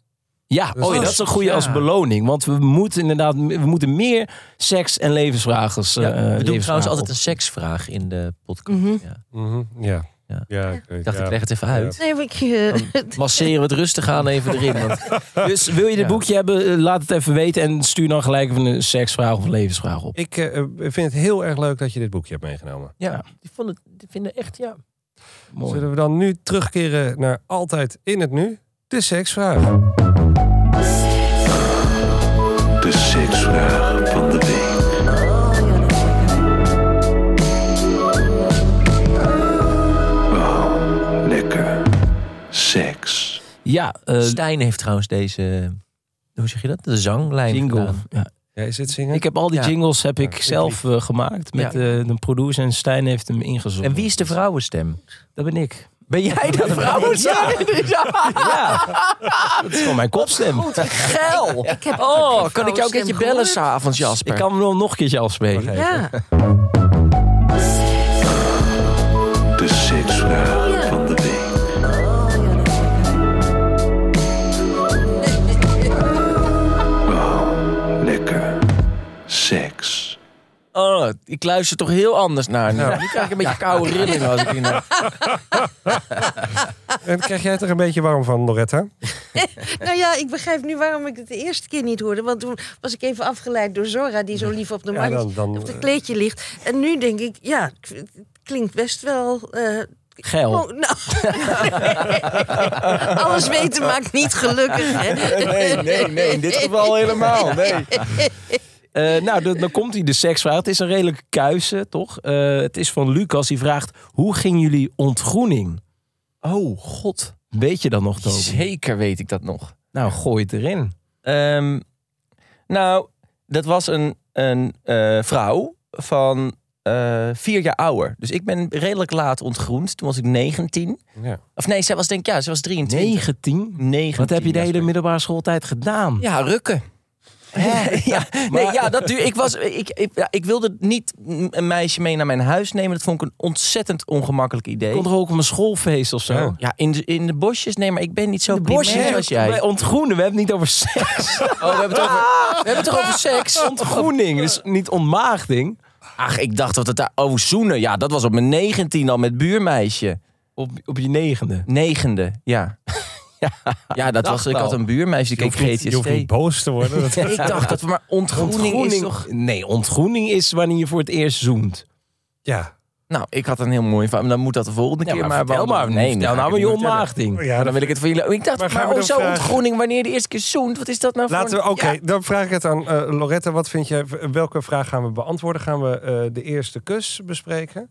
A: Ja,
E: Dus
A: oh, ja,
E: als-
A: dat is een goede
D: ja.
A: als beloning. Want we moeten inderdaad we moeten meer seks- en levensvragen. eh
D: Ja, we doen
A: levensvragen
D: trouwens altijd
A: op.
D: een seksvraag in de podcast.
B: Mhm.
D: ja.
E: Mhm, Ja.
D: Ja.
E: ik weet-
D: Ik dacht,
E: ja.
D: ik leg het even uit.
B: Nee, maar ik,
A: (laughs)
B: eh, (laughs)
D: Masseren we het rustig aan even erin. (laughs) Want
A: Dus wil je dit
E: Ja.
A: boekje hebben, eh, laat het even weten. En stuur dan gelijk even een seksvraag of een levensvraag op.
E: Ik eh, vind het heel erg leuk dat je dit boekje hebt meegenomen.
D: ja, die, vonden, die vinden echt, ja.
A: Mooi.
E: Zullen we dan nu terugkeren naar altijd in het nu? De seksvraag.
C: De seksvraag van de week. Oh, Wauw, lekker. Seks.
A: Ja, eh
D: Stijn heeft trouwens deze, hoe zeg je dat? De zanglijn
A: jingle.
D: gedaan.
A: Ja.
E: Jij zit zingen?
A: Ik heb al die
D: Ja.
A: jingles heb ik
E: Ja,
A: zelf eh, gemaakt met
D: Ja.
A: eh, de producer en Stijn heeft hem ingezongen.
D: En wie is de vrouwenstem?
A: Dat ben ik.
D: Ben jij
A: (laughs)
D: de vrouwenstem? (laughs)
A: Dat is gewoon mijn kopstem.
D: Geil!
B: ik heb ook geen
D: Oh, kan ik jou
B: vrouwenstem
D: een keertje bellen
B: gehoord.
D: s'avonds, Jasper?
A: Ik kan hem wel nog een keertje afspelen.
B: Ja,
C: De seksvraag van de week. Wauw, lekker. Seks.
D: Oh, ik luister toch heel anders naar. Nu Nu krijg ik een beetje koude rillingen als ik in de...
E: En krijg jij het er een beetje warm van, Loretta?
B: nou ja, ik begrijp nu waarom ik het de eerste keer niet hoorde. Want toen was ik even afgeleid door Zora, die zo lief op de
E: Ja,
B: mandje,
E: dan- dan,
B: op het
E: eh.
B: kleedje ligt. En nu denk ik, ja, ik- het klinkt best wel. eh,
A: (laughs) Geil.
B: oh, nou. (laughs) Alles weten maakt niet gelukkig. Hè?
A: Nee, nee, nee. In dit geval helemaal. Nee. Eh, nou, dan, dan komt hij de seksvraag. Het is een redelijk kuise, toch? Eh, het is van Lucas. Die vraagt, hoe ging jullie ontgroening?
D: (laughs) Oh, god.
A: Weet je dat nog, Toby?
D: Zeker weet ik dat nog.
A: Nou, gooi het erin.
D: Ehm, nou, dat was een, een eh, vrouw van eh, vier jaar ouder. Dus ik ben redelijk laat ontgroend. Toen was ik 19.
E: Ja.
D: Of nee, zij was denk ik, ja, ze was 23.
A: 19?
D: 19,
A: Wat heb je de
D: ja,
A: hele
D: sorry.
A: middelbare schooltijd gedaan?
D: Ja, rukken. (laughs) ja, nee, ja, dat duur. Ik, was, ik, ik, ja, ik wilde niet een meisje mee naar mijn huis nemen. Dat vond ik een ontzettend ongemakkelijk idee.
A: Ik kon er ook op een schoolfeest of zo.
E: Ja.
D: Ja, in de, in de bosjes. Nee, maar ik ben niet zo
A: De bosjes
D: primair als jij.
A: Wij ontgroenen, we hebben het niet over seks.
D: Oh, we hebben het over, we hebben het toch over (laughs) seks.
A: Ontgroening, dus niet ontmaagding.
D: Ach, ik dacht dat het daar... Oh, zoenen. Ja, dat was op mijn 19 al met buurmeisje.
A: Op, op je negende.
D: Negende, ja. ja, dat was... Ik
A: wel.
D: had een buurmeisje, die
E: Je hoeft
D: keek
E: niet- je hoeft niet
D: GTSD.
E: boos te worden. Dat-
D: Ik dacht dat we maar ontgroening, is toch...
A: Nee, ontgroening is wanneer je voor het eerst zoent.
E: ja.
D: Nou, ik had een heel mooi verhaal. maar Dan moet dat de volgende
A: Ja,
D: keer
A: maar,
D: maar...
A: vertel
D: behandelen.
A: maar. Nee,
D: dan
A: vertel
D: ga
A: nou
D: ik
A: maar je
D: het niet vertellen.
A: ontmaagding.
E: ja
D: Dan
E: dat-
D: wil ik het voor jullie... Ik dacht,
E: Maar
D: maar,
E: gaan we dan
D: hoezo
E: vragen?
D: ontgroening wanneer de eerste keer zoent? Wat is dat nou
E: Laten
D: voor...
E: we, oké, dan vraag ik het aan eh, Loretta. Wat vind jij, v- welke vraag gaan we beantwoorden? Gaan we eh, de eerste kus bespreken?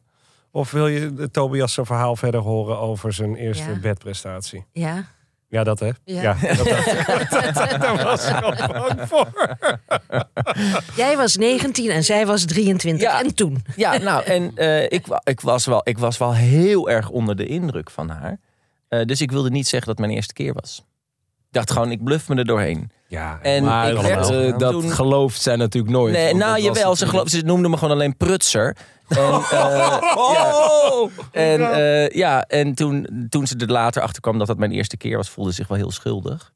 E: Of wil je eh, Tobias zijn verhaal verder horen over zijn eerste
B: Ja.
E: bedprestatie?
B: Ja.
E: Ja, dat hè?
B: Ja.
E: dat, dat- daar was ik al bang voor.
B: Jij was 19 en zij was 23.
D: Ja.
B: En toen?
D: Ja, nou, en eh, ik, wa- ik, was wel, ik was wel heel erg onder de indruk van haar. Eh, dus ik wilde niet zeggen dat het mijn eerste keer was. Ik dacht gewoon, ik bluff me er doorheen.
E: (laughs) Ja,
D: En
A: Maar
D: ik
A: dat,
D: werd,
A: eh, dat
D: toen-
A: gelooft zij natuurlijk nooit.
D: Nee,
A: want
D: nou
A: dat was
D: jawel, ze,
A: natuurlijk-
D: geloof, ze noemde me gewoon alleen prutser.
A: (laughs)
D: En, eh,
A: Oh!
D: ja. en, eh, ja, en toen, toen ze er later achter kwam dat dat mijn eerste keer was, voelde ze zich wel heel schuldig.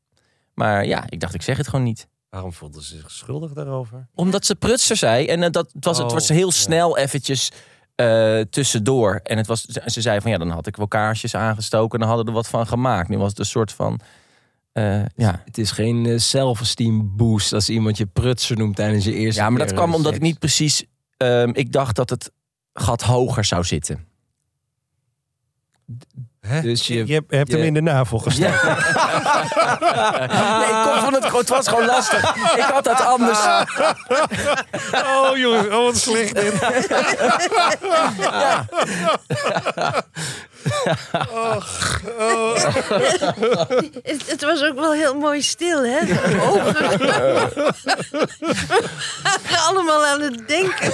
D: Maar ja, ik dacht, ik zeg het gewoon niet.
E: waarom voelde ze zich schuldig daarover?
D: Omdat ze prutser zei. En eh, dat het was, het
E: Oh,
D: was heel
E: ja.
D: snel eventjes eh, tussendoor. En het was, ze- ze zei van ja, dan had ik wel kaarsjes aangestoken en dan hadden we er wat van gemaakt. Nu was het een soort van. eh, ja.
A: Het is geen eh, self-esteem boost als iemand je prutser noemt tijdens je eerste
D: ja, maar dat
A: keer,
D: kwam
A: eh,
D: omdat ik
A: seks.
D: niet precies. ehm, ik dacht dat het gat hoger zou zitten.
A: Dus je-
E: je, hebt- hebt
A: je-
E: hem in de navel gestoken.
D: (laughs) Nee, ik kon van het, het was gewoon lastig. Ik had dat anders.
E: (laughs) Oh jongens, oh, wat slecht (laughs) dit.
B: Het, het was ook wel heel mooi stil,
D: (laughs)
B: hè? De Ogen. Allemaal aan het denken.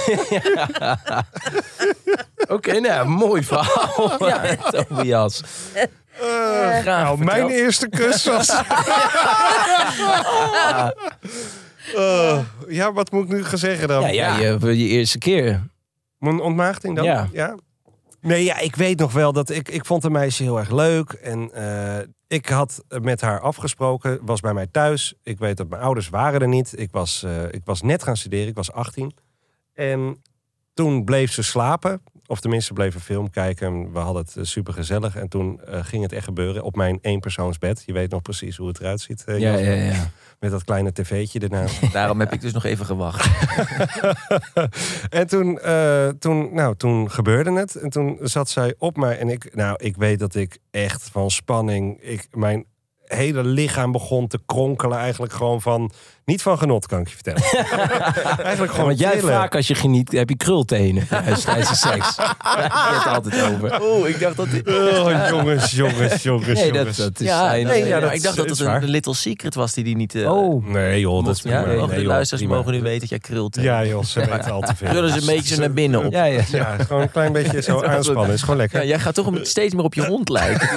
A: Oké, nou, mooi
D: (laughs)
A: verhaal. Ja, (laughs) Tobias.
D: Graag
E: Nou, mijn
D: verteld.
E: eerste kus (laughs) was. Eh, ja, wat moet ik nu gaan zeggen dan?
A: Ja, ja, Je, je eerste keer.
E: Mijn ontmaagding dan?
A: Ja.
E: Nee, ja, ik weet nog wel dat ik, ik vond een meisje heel erg leuk. En eh, ik had met haar afgesproken, was bij mij thuis. Ik weet dat mijn ouders waren er niet. Ik was, eh, ik was net gaan studeren, ik was 18. En toen bleef ze slapen. Of tenminste, bleef een film kijken. We hadden het super gezellig. En toen eh, ging het echt gebeuren op mijn eenpersoonsbed. Je weet nog precies hoe het eruit ziet. eh,
A: Ja,
E: Jasper.
A: ja, ja.
E: Met dat kleine tv'tje ernaast.
D: Daarom heb ik dus nog even (laughs) gewacht.
E: (laughs) En toen, eh, toen, nou, toen gebeurde het. En toen zat zij op mij. En ik, nou, ik weet dat ik echt van spanning. Ik, mijn hele lichaam begon te kronkelen. Eigenlijk gewoon van. Niet van genot, kan ik je vertellen. eigenlijk gewoon.
A: Want jij
E: trillen.
A: vaak als je geniet, heb je krultenen.
D: (laughs)
A: Juist tijdens de seks. Daar heb je het altijd over.
D: Oeh, ik dacht dat.
E: Oh, jongens, jongens, jongens.
A: Nee, dat,
E: jongens.
A: dat is
D: Ja,
A: zijn...
D: nee,
E: ja,
D: ja,
E: dat
D: ik dacht dat
E: is
D: het
E: waar.
D: een Little Secret was die die niet. eh,
A: Oh,
E: Nee, joh, dat is
D: Ja,
E: prima.
D: mogen
E: nee,
D: de
E: joh,
D: luisteraars
E: prima.
D: mogen nu weten dat jij krult. hè?
E: Ja, joh, ze weten al te veel.
D: Krullen ze een beetje naar binnen op.
A: ja, ja.
E: Ja, is gewoon een klein beetje zo aanspannen. Is gewoon lekker.
D: Ja, jij gaat toch een- steeds meer op je hond (laughs) lijken.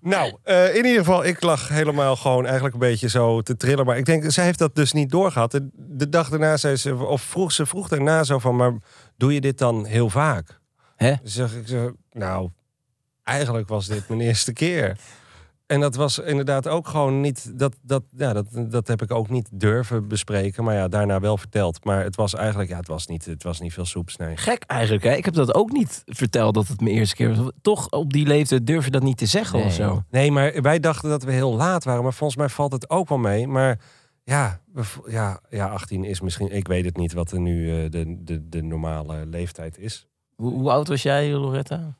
E: Nou, eh, in ieder geval, ik lag helemaal gewoon eigenlijk een beetje zo te trillen. Maar ik denk, zij heeft dat dus niet doorgehad. De, de dag daarna zei ze, of vroeg ze vroeg daarna zo van, maar doe je dit dan heel vaak?
A: Hè?
E: Dus zeg ik zo, nou, eigenlijk was dit mijn eerste keer. En dat was inderdaad ook gewoon niet, dat, dat, ja, dat, dat heb ik ook niet durven bespreken. Maar ja, daarna wel verteld. Maar het was eigenlijk, ja, het was niet, het was niet veel soeps, nee.
A: Gek eigenlijk, hè? Ik heb dat ook niet verteld dat het mijn eerste keer was. Toch op die leeftijd durf je dat niet te zeggen
D: Nee.
A: of zo.
E: Nee, maar wij dachten dat we heel laat waren. Maar volgens mij valt het ook wel mee. Maar Ja, we vo- ja, ja, 18 is misschien... Ik weet het niet wat er nu eh, de, de, de normale leeftijd is.
D: Hoe, hoe oud was jij, Loretta?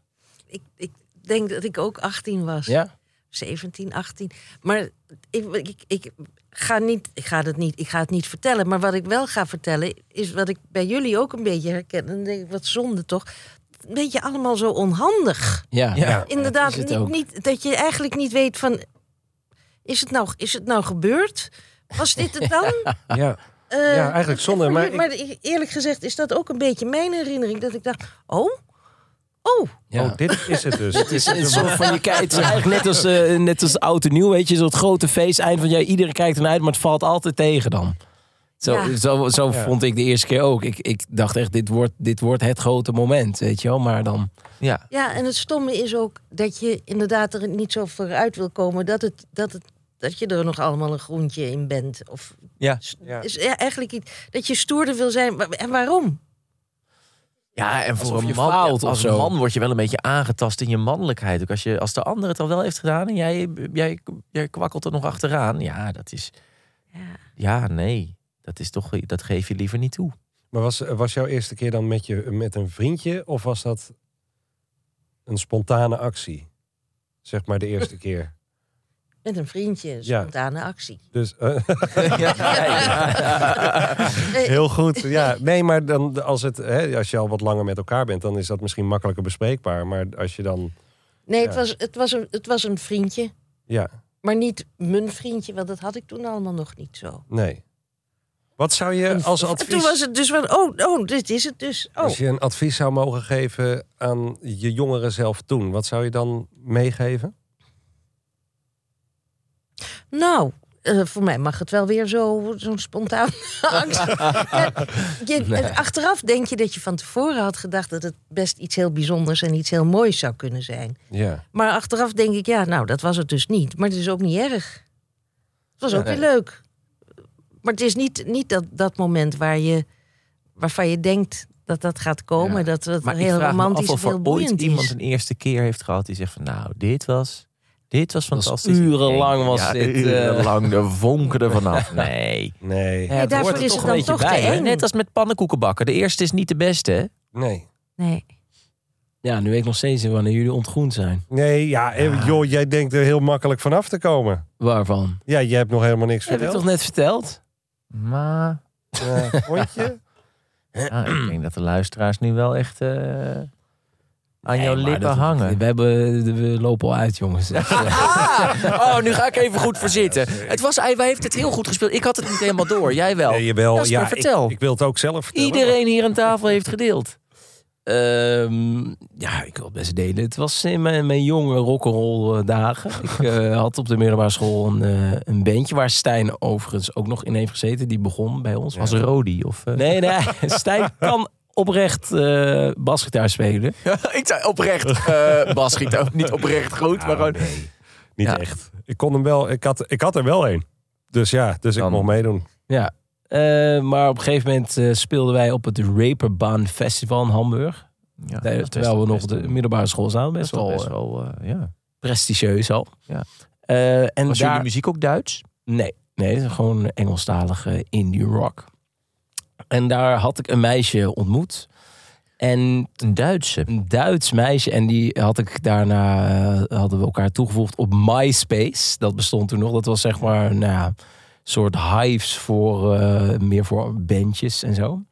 B: Ik, ik denk dat ik ook 18 was.
D: Ja?
B: 17, 18. Maar ik, ik, ik, ga niet, ik, ga dat niet, ik ga het niet vertellen. Maar wat ik wel ga vertellen, is wat ik bij jullie ook een beetje herken. En dan denk ik, wat zonde toch? Een beetje allemaal zo onhandig.
A: Ja.
E: Ja.
B: Inderdaad,
A: is het
B: niet,
A: ook.
B: niet, dat je eigenlijk niet weet van... Is het nou, is het nou gebeurd? Was dit
E: (laughs)
B: het dan?
E: Ja,
B: Eh,
E: ja eigenlijk zonde. Maar
B: maar,
E: ik,
B: eerlijk gezegd is dat ook een beetje mijn herinnering. Dat ik dacht, oh, oh,
A: Ja.
E: Oh, dit is het dus.
A: Het is, een soort van,
D: (laughs)
A: je kijkt, het is eigenlijk net als, eh, net als oud en nieuw, weet je. Zo'n grote feest, eind van het jaar, iedereen kijkt ernaar uit, maar het valt altijd tegen dan. Zo,
B: Ja.
A: zo, zo
E: Ja.
A: vond ik de eerste keer ook. Ik, ik dacht echt, dit wordt, dit wordt het grote moment, weet je wel. Maar dan...
D: Ja.
B: Ja, en het stomme is ook dat je inderdaad er niet zo vooruit wil komen dat, het, dat, het, dat je er nog allemaal een groentje in bent. Of
D: Ja.
E: Ja.
B: is ja, eigenlijk iets dat je stoerder wil zijn. Wa- En waarom?
D: Ja, en voor
A: Alsof
D: een
A: je
D: man,
A: faalt of
D: als
A: zo.
D: man word je wel een beetje aangetast in je mannelijkheid. Ook als, je, als de ander het al wel heeft gedaan en jij, jij, jij kwakkelt er nog achteraan. Ja, dat is...
B: Ja.
D: Ja, nee. Dat, is toch, dat geef je liever niet toe.
E: Maar was, was jouw eerste keer dan met, je, met een vriendje of was dat een spontane actie? Zeg maar de eerste keer.
B: Met een vriendje, een
E: Ja.
B: spontane actie.
E: Dus, eh, (laughs)
B: Eh,
D: (laughs)
E: heel goed. Ja, (laughs) nee, maar dan, als, het, hè, als je al wat langer met elkaar bent, dan is dat misschien makkelijker bespreekbaar. Maar als je dan.
B: nee, het,
E: Ja.
B: was, het, was een, het was een vriendje.
E: Ja,
B: Maar niet mijn vriendje, want dat had ik toen allemaal nog niet zo.
E: nee. Wat zou je als
B: En toen
E: advies.
B: was het dus van, oh, oh, dit is het dus. Oh.
E: Als je een advies zou mogen geven aan je jongeren zelf toen, wat zou je dan meegeven?
B: Nou, eh, voor mij mag het wel weer zo- zo'n spontaan (laughs) angst. Ja, je- Achteraf denk je dat je van tevoren had gedacht dat het best iets heel bijzonders en iets heel moois zou kunnen zijn.
E: Ja.
B: Maar achteraf denk ik, ja, nou, dat was het dus niet. Maar het is ook niet erg. Het was ook
D: Nee.
B: weer leuk. Maar het is niet, niet dat, dat moment waar je, waarvan je denkt dat dat gaat komen.
D: Ja.
B: Dat het
D: Maar ik
B: heel
D: vraag me
B: romantisch en
D: af of er
B: heel boeiend
D: ooit iemand
B: is.
D: een eerste keer heeft gehad die zegt van nou, dit was, dit was
A: was
D: fantastisch.
A: urenlang was
D: Ja,
A: dit, eh,
D: Urenlang, de vonken er vanaf. (laughs) Nee.
E: Nee.
B: Nee,
A: het
B: daarvoor
A: hoort er
B: is
A: toch
B: het
A: een
B: dan
A: beetje
B: toch te
A: bij, hè?
B: eng.
D: Net als met pannenkoeken bakken. De eerste is niet de beste. hè?
E: Nee.
B: Nee.
A: Ja, nu weet ik nog steeds niet wanneer jullie ontgroend zijn.
E: Nee, ja, eh, joh, jij denkt er heel makkelijk vanaf te komen.
A: Waarvan?
E: Ja, jij hebt nog helemaal niks
A: Heb ik
E: verteld.
A: toch net verteld?
D: (clears throat) Maar
E: Ja, vond je?
D: ja, ik denk dat de luisteraars nu wel echt eh, aan jouw
A: Nee, maar
D: lippen
A: dat-
D: hangen. (laughs)
A: We, hebben, we lopen al uit, jongens.
D: Oh, nu ga ik even (laughs) goed verzitten. Het was, hij heeft het heel goed gespeeld. Ik had het niet helemaal door. Jij wel.
E: Nee, je wel.
D: Jasper,
E: ja,
D: vertel.
E: Ik, ik wil het ook zelf vertellen.
D: Iedereen hier aan tafel heeft gedeeld.
A: Ehm, ja, ik wil het best delen. Het was in mijn, mijn jonge rock'n'roll eh, dagen.
D: (laughs)
A: Ik eh, had op de middelbare school een, eh, een bandje waar Stijn overigens ook nog in heeft gezeten. Die begon bij ons.
D: Als Rodi of... eh,
A: Nee,
D: (laughs)
A: nee. Stijn kan oprecht eh basgitaar spelen.
D: ik zei oprecht. eh Bas schiet ook niet oprecht goed,
A: Nou,
D: maar gewoon...
E: Niet
D: Ja.
E: echt. Ik kon hem wel. Ik had, ik had er wel een. Dus ja, dus ik
D: Dan-
E: mocht meedoen.
A: Ja. Eh, maar op een gegeven moment eh, speelden wij op het Raperbaan Festival in Hamburg.
D: Ja,
A: Daar- terwijl we nog de middelbare school zaten. Best wel eh,
D: ja.
A: prestigieus al.
D: Ja.
A: Eh, en
D: Was
A: daar...
D: jullie muziek ook Duits?
A: Nee, nee, gewoon Engelstalige indie rock. En daar had ik een meisje ontmoet. En
D: Een Duitse.
A: een Duits meisje. En die had ik daarna eh, hadden we elkaar toegevoegd op MySpace. Dat bestond toen nog. Dat was zeg maar nou, ja, een soort hives voor eh, meer voor bandjes en zo.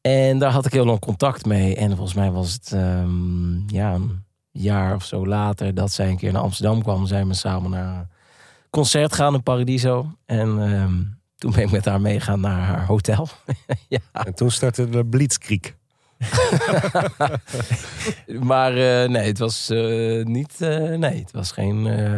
A: En daar had ik heel lang contact mee. En volgens mij was het ehm, ja, een jaar of zo later dat zij een keer naar Amsterdam kwam. Zijn we samen naar een concert gaan in Paradiso. En ehm, toen ben ik met haar meegaan naar haar hotel.
E: En toen startte de Blitzkrieg.
A: Maar eh, nee, het was eh, niet. eh, nee, het was geen. eh,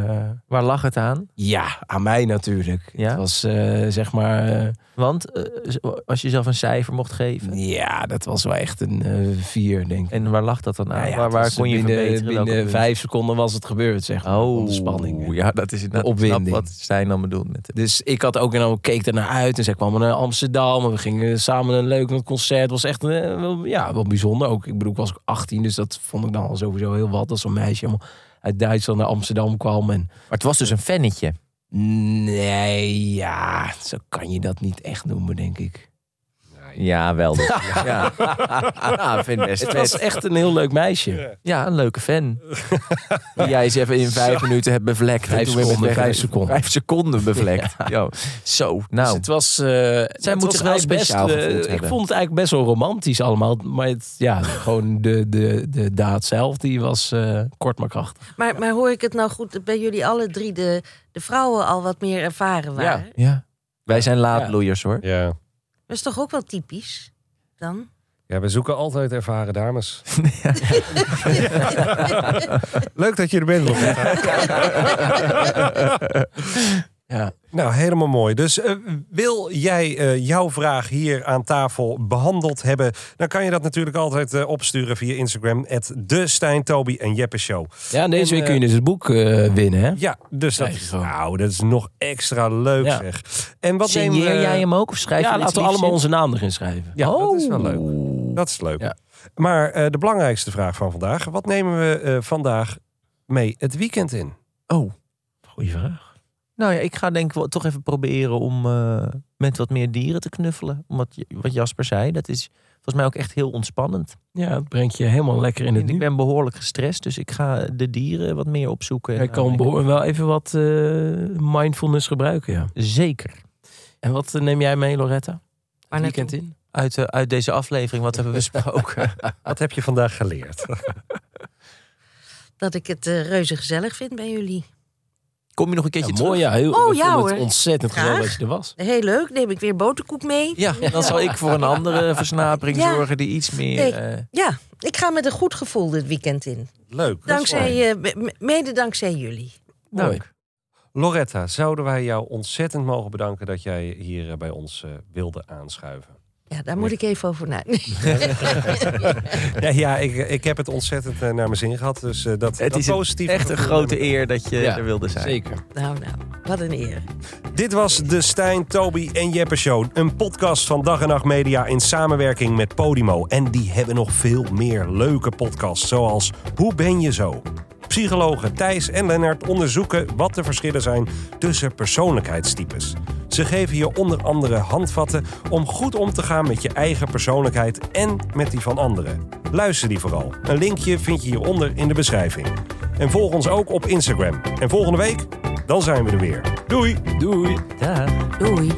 D: Waar lag het aan?
A: Ja, aan mij natuurlijk.
D: Ja?
A: Het was eh, zeg maar. eh,
D: Want eh, als je zelf een cijfer mocht geven.
A: ja, dat was wel echt een eh, vier, denk ik.
D: En waar lag dat dan aan?
A: Nou ja,
D: waar
A: het
D: waar
A: was
D: kon je
A: binnen,
D: verbeteren? Welke
A: Binnen
D: punten?
A: vijf seconden was het gebeurd, zeg maar. van
D: Oh,
A: de spanning.
D: Ja, dat is inderdaad
A: De opwinding.
D: knap wat Stijn dan bedoelt. Met de...
A: Dus ik had ook en dan keek ernaar uit en zij kwamen naar Amsterdam en we gingen samen een leuk concert. Het was echt eh, wel, ja, wel bijzonder ook. Ik bedoel, ik was ook 18, dus dat vond ik dan al sowieso heel wat als zo'n meisje helemaal uit Duitsland naar Amsterdam kwam en
D: Maar het was dus een fannetje.
A: Nee, ja, zo kan je dat niet echt noemen, denk ik.
D: Ja, wel.
A: (laughs)
D: dus. Ja, ja. vind ik best
A: Nou, Het was
D: vet.
A: echt een heel leuk meisje.
D: Ja, een leuke
A: (laughs)
D: fan. Die jij eens even in vijf minuten hebt bevlekt.
A: Vijf
D: Toen ben je
A: seconden,
D: weg-
A: vijf seconden.
D: Vijf seconden bevlekt. Yo. Zo,
A: Dus
D: nou.
A: het was. eh het
D: moet
A: was
D: zich wel
A: eigenlijk
D: speciaal
A: best, eh,
D: gevoeld
A: Ik
D: hebben.
A: vond het eigenlijk best wel romantisch allemaal. Maar het,
D: (laughs)
A: ja, gewoon de, de, de daad zelf, die was eh, kort maar krachtig.
B: Maar, maar hoor ik het nou goed dat bij jullie alle drie de, de vrouwen al wat meer ervaren waren?
D: Ja. Wij zijn laadbloeiers hoor.
E: Ja.
B: Dat is toch ook wel typisch dan?
E: ja, we zoeken altijd ervaren dames. Leuk dat je er bent, Lotte.
A: Ja.
E: Nou, helemaal mooi. Dus eh, wil jij eh, jouw vraag hier aan tafel behandeld hebben... dan kan je dat natuurlijk altijd eh, opsturen via Instagram... at de Stijn, Toby en Jeppe Show.
A: Ja, en deze
E: En,
A: week kun je
E: eh,
A: dus het boek eh, winnen, hè?
E: Ja, dus dat,
A: Krijg je gewoon.
E: nou, dat is nog extra leuk,
A: Ja.
E: zeg. En wat nemen
D: Signeer
E: we-
D: jij hem ook of schrijf
A: Ja,
D: je
A: laten we allemaal onze naam erin schrijven.
E: Ja, dat is wel leuk. Dat is leuk.
A: Ja.
E: Maar eh, de belangrijkste vraag van vandaag... wat nemen we eh, vandaag mee het weekend in?
D: Oh,
A: Goeie vraag.
D: nou ja, ik ga denk ik wel toch even proberen om eh, met wat meer dieren te knuffelen. Omdat je- wat Jasper zei, dat is volgens mij ook echt heel ontspannend.
A: Ja, het brengt je helemaal lekker in het
D: ik
A: nu.
D: ben behoorlijk gestrest, dus ik ga de dieren wat meer opzoeken. en
A: Hij kan
D: nadenken.
A: behoor- wel even wat eh, mindfulness gebruiken, ja.
D: Zeker.
A: En wat eh, neem jij mee, Loretta?
B: Maar
A: Het
B: naartoe?
A: weekend in?
D: Uit, eh, uit deze aflevering, wat hebben we
A: (laughs)
D: besproken?
E: Wat heb je vandaag geleerd?
B: Dat ik het eh, reuze gezellig vind bij jullie.
D: Kom je nog een
A: Ja,
D: keertje
A: mooi, ja. Heel,
B: Oh,
A: ik
B: ja,
A: vond het
B: hoor.
A: ontzettend gezellig
B: Graag.
A: dat je er was.
B: Heel leuk, neem ik weer boterkoek mee.
D: terug? Ja, dan zal ik voor een andere versnapering
B: Ja.
D: zorgen die iets meer...
B: Nee.
D: eh,
B: Ja, ik ga met een goed gevoel dit weekend in.
E: leuk.
B: Dankzij, eh, me- me- mede dankzij jullie.
A: Mooi.
E: Dank. Loretta, zouden wij jou ontzettend mogen bedanken dat jij hier eh, bij ons eh, wilde aanschuiven?
B: Ja, daar moet ik even over na. (laughs) Nee,
E: (laughs) Ja, ja ik, ik heb het ontzettend eh, naar mijn zin gehad. Dus eh, dat,
D: het
E: dat
D: is een,
E: positief.
D: echt een grote eer dat je er wilde zijn.
A: Zeker.
B: nou, nou, wat een eer.
E: Dit was de Stijn, Toby en Jeppe Show. Een podcast van Dag en Nacht Media in samenwerking met Podimo. En die hebben nog veel meer leuke podcasts. Zoals Hoe ben je zo? Psychologen Thijs en Lennart onderzoeken wat de verschillen zijn tussen persoonlijkheidstypes. Ze geven je onder andere handvatten om goed om te gaan met je eigen persoonlijkheid en met die van anderen. Luister die vooral. Een linkje vind je hieronder in de beschrijving. En volg ons ook op Instagram. En volgende week, dan zijn we er weer. Doei!
A: Doei.
D: Ja.
B: Doei.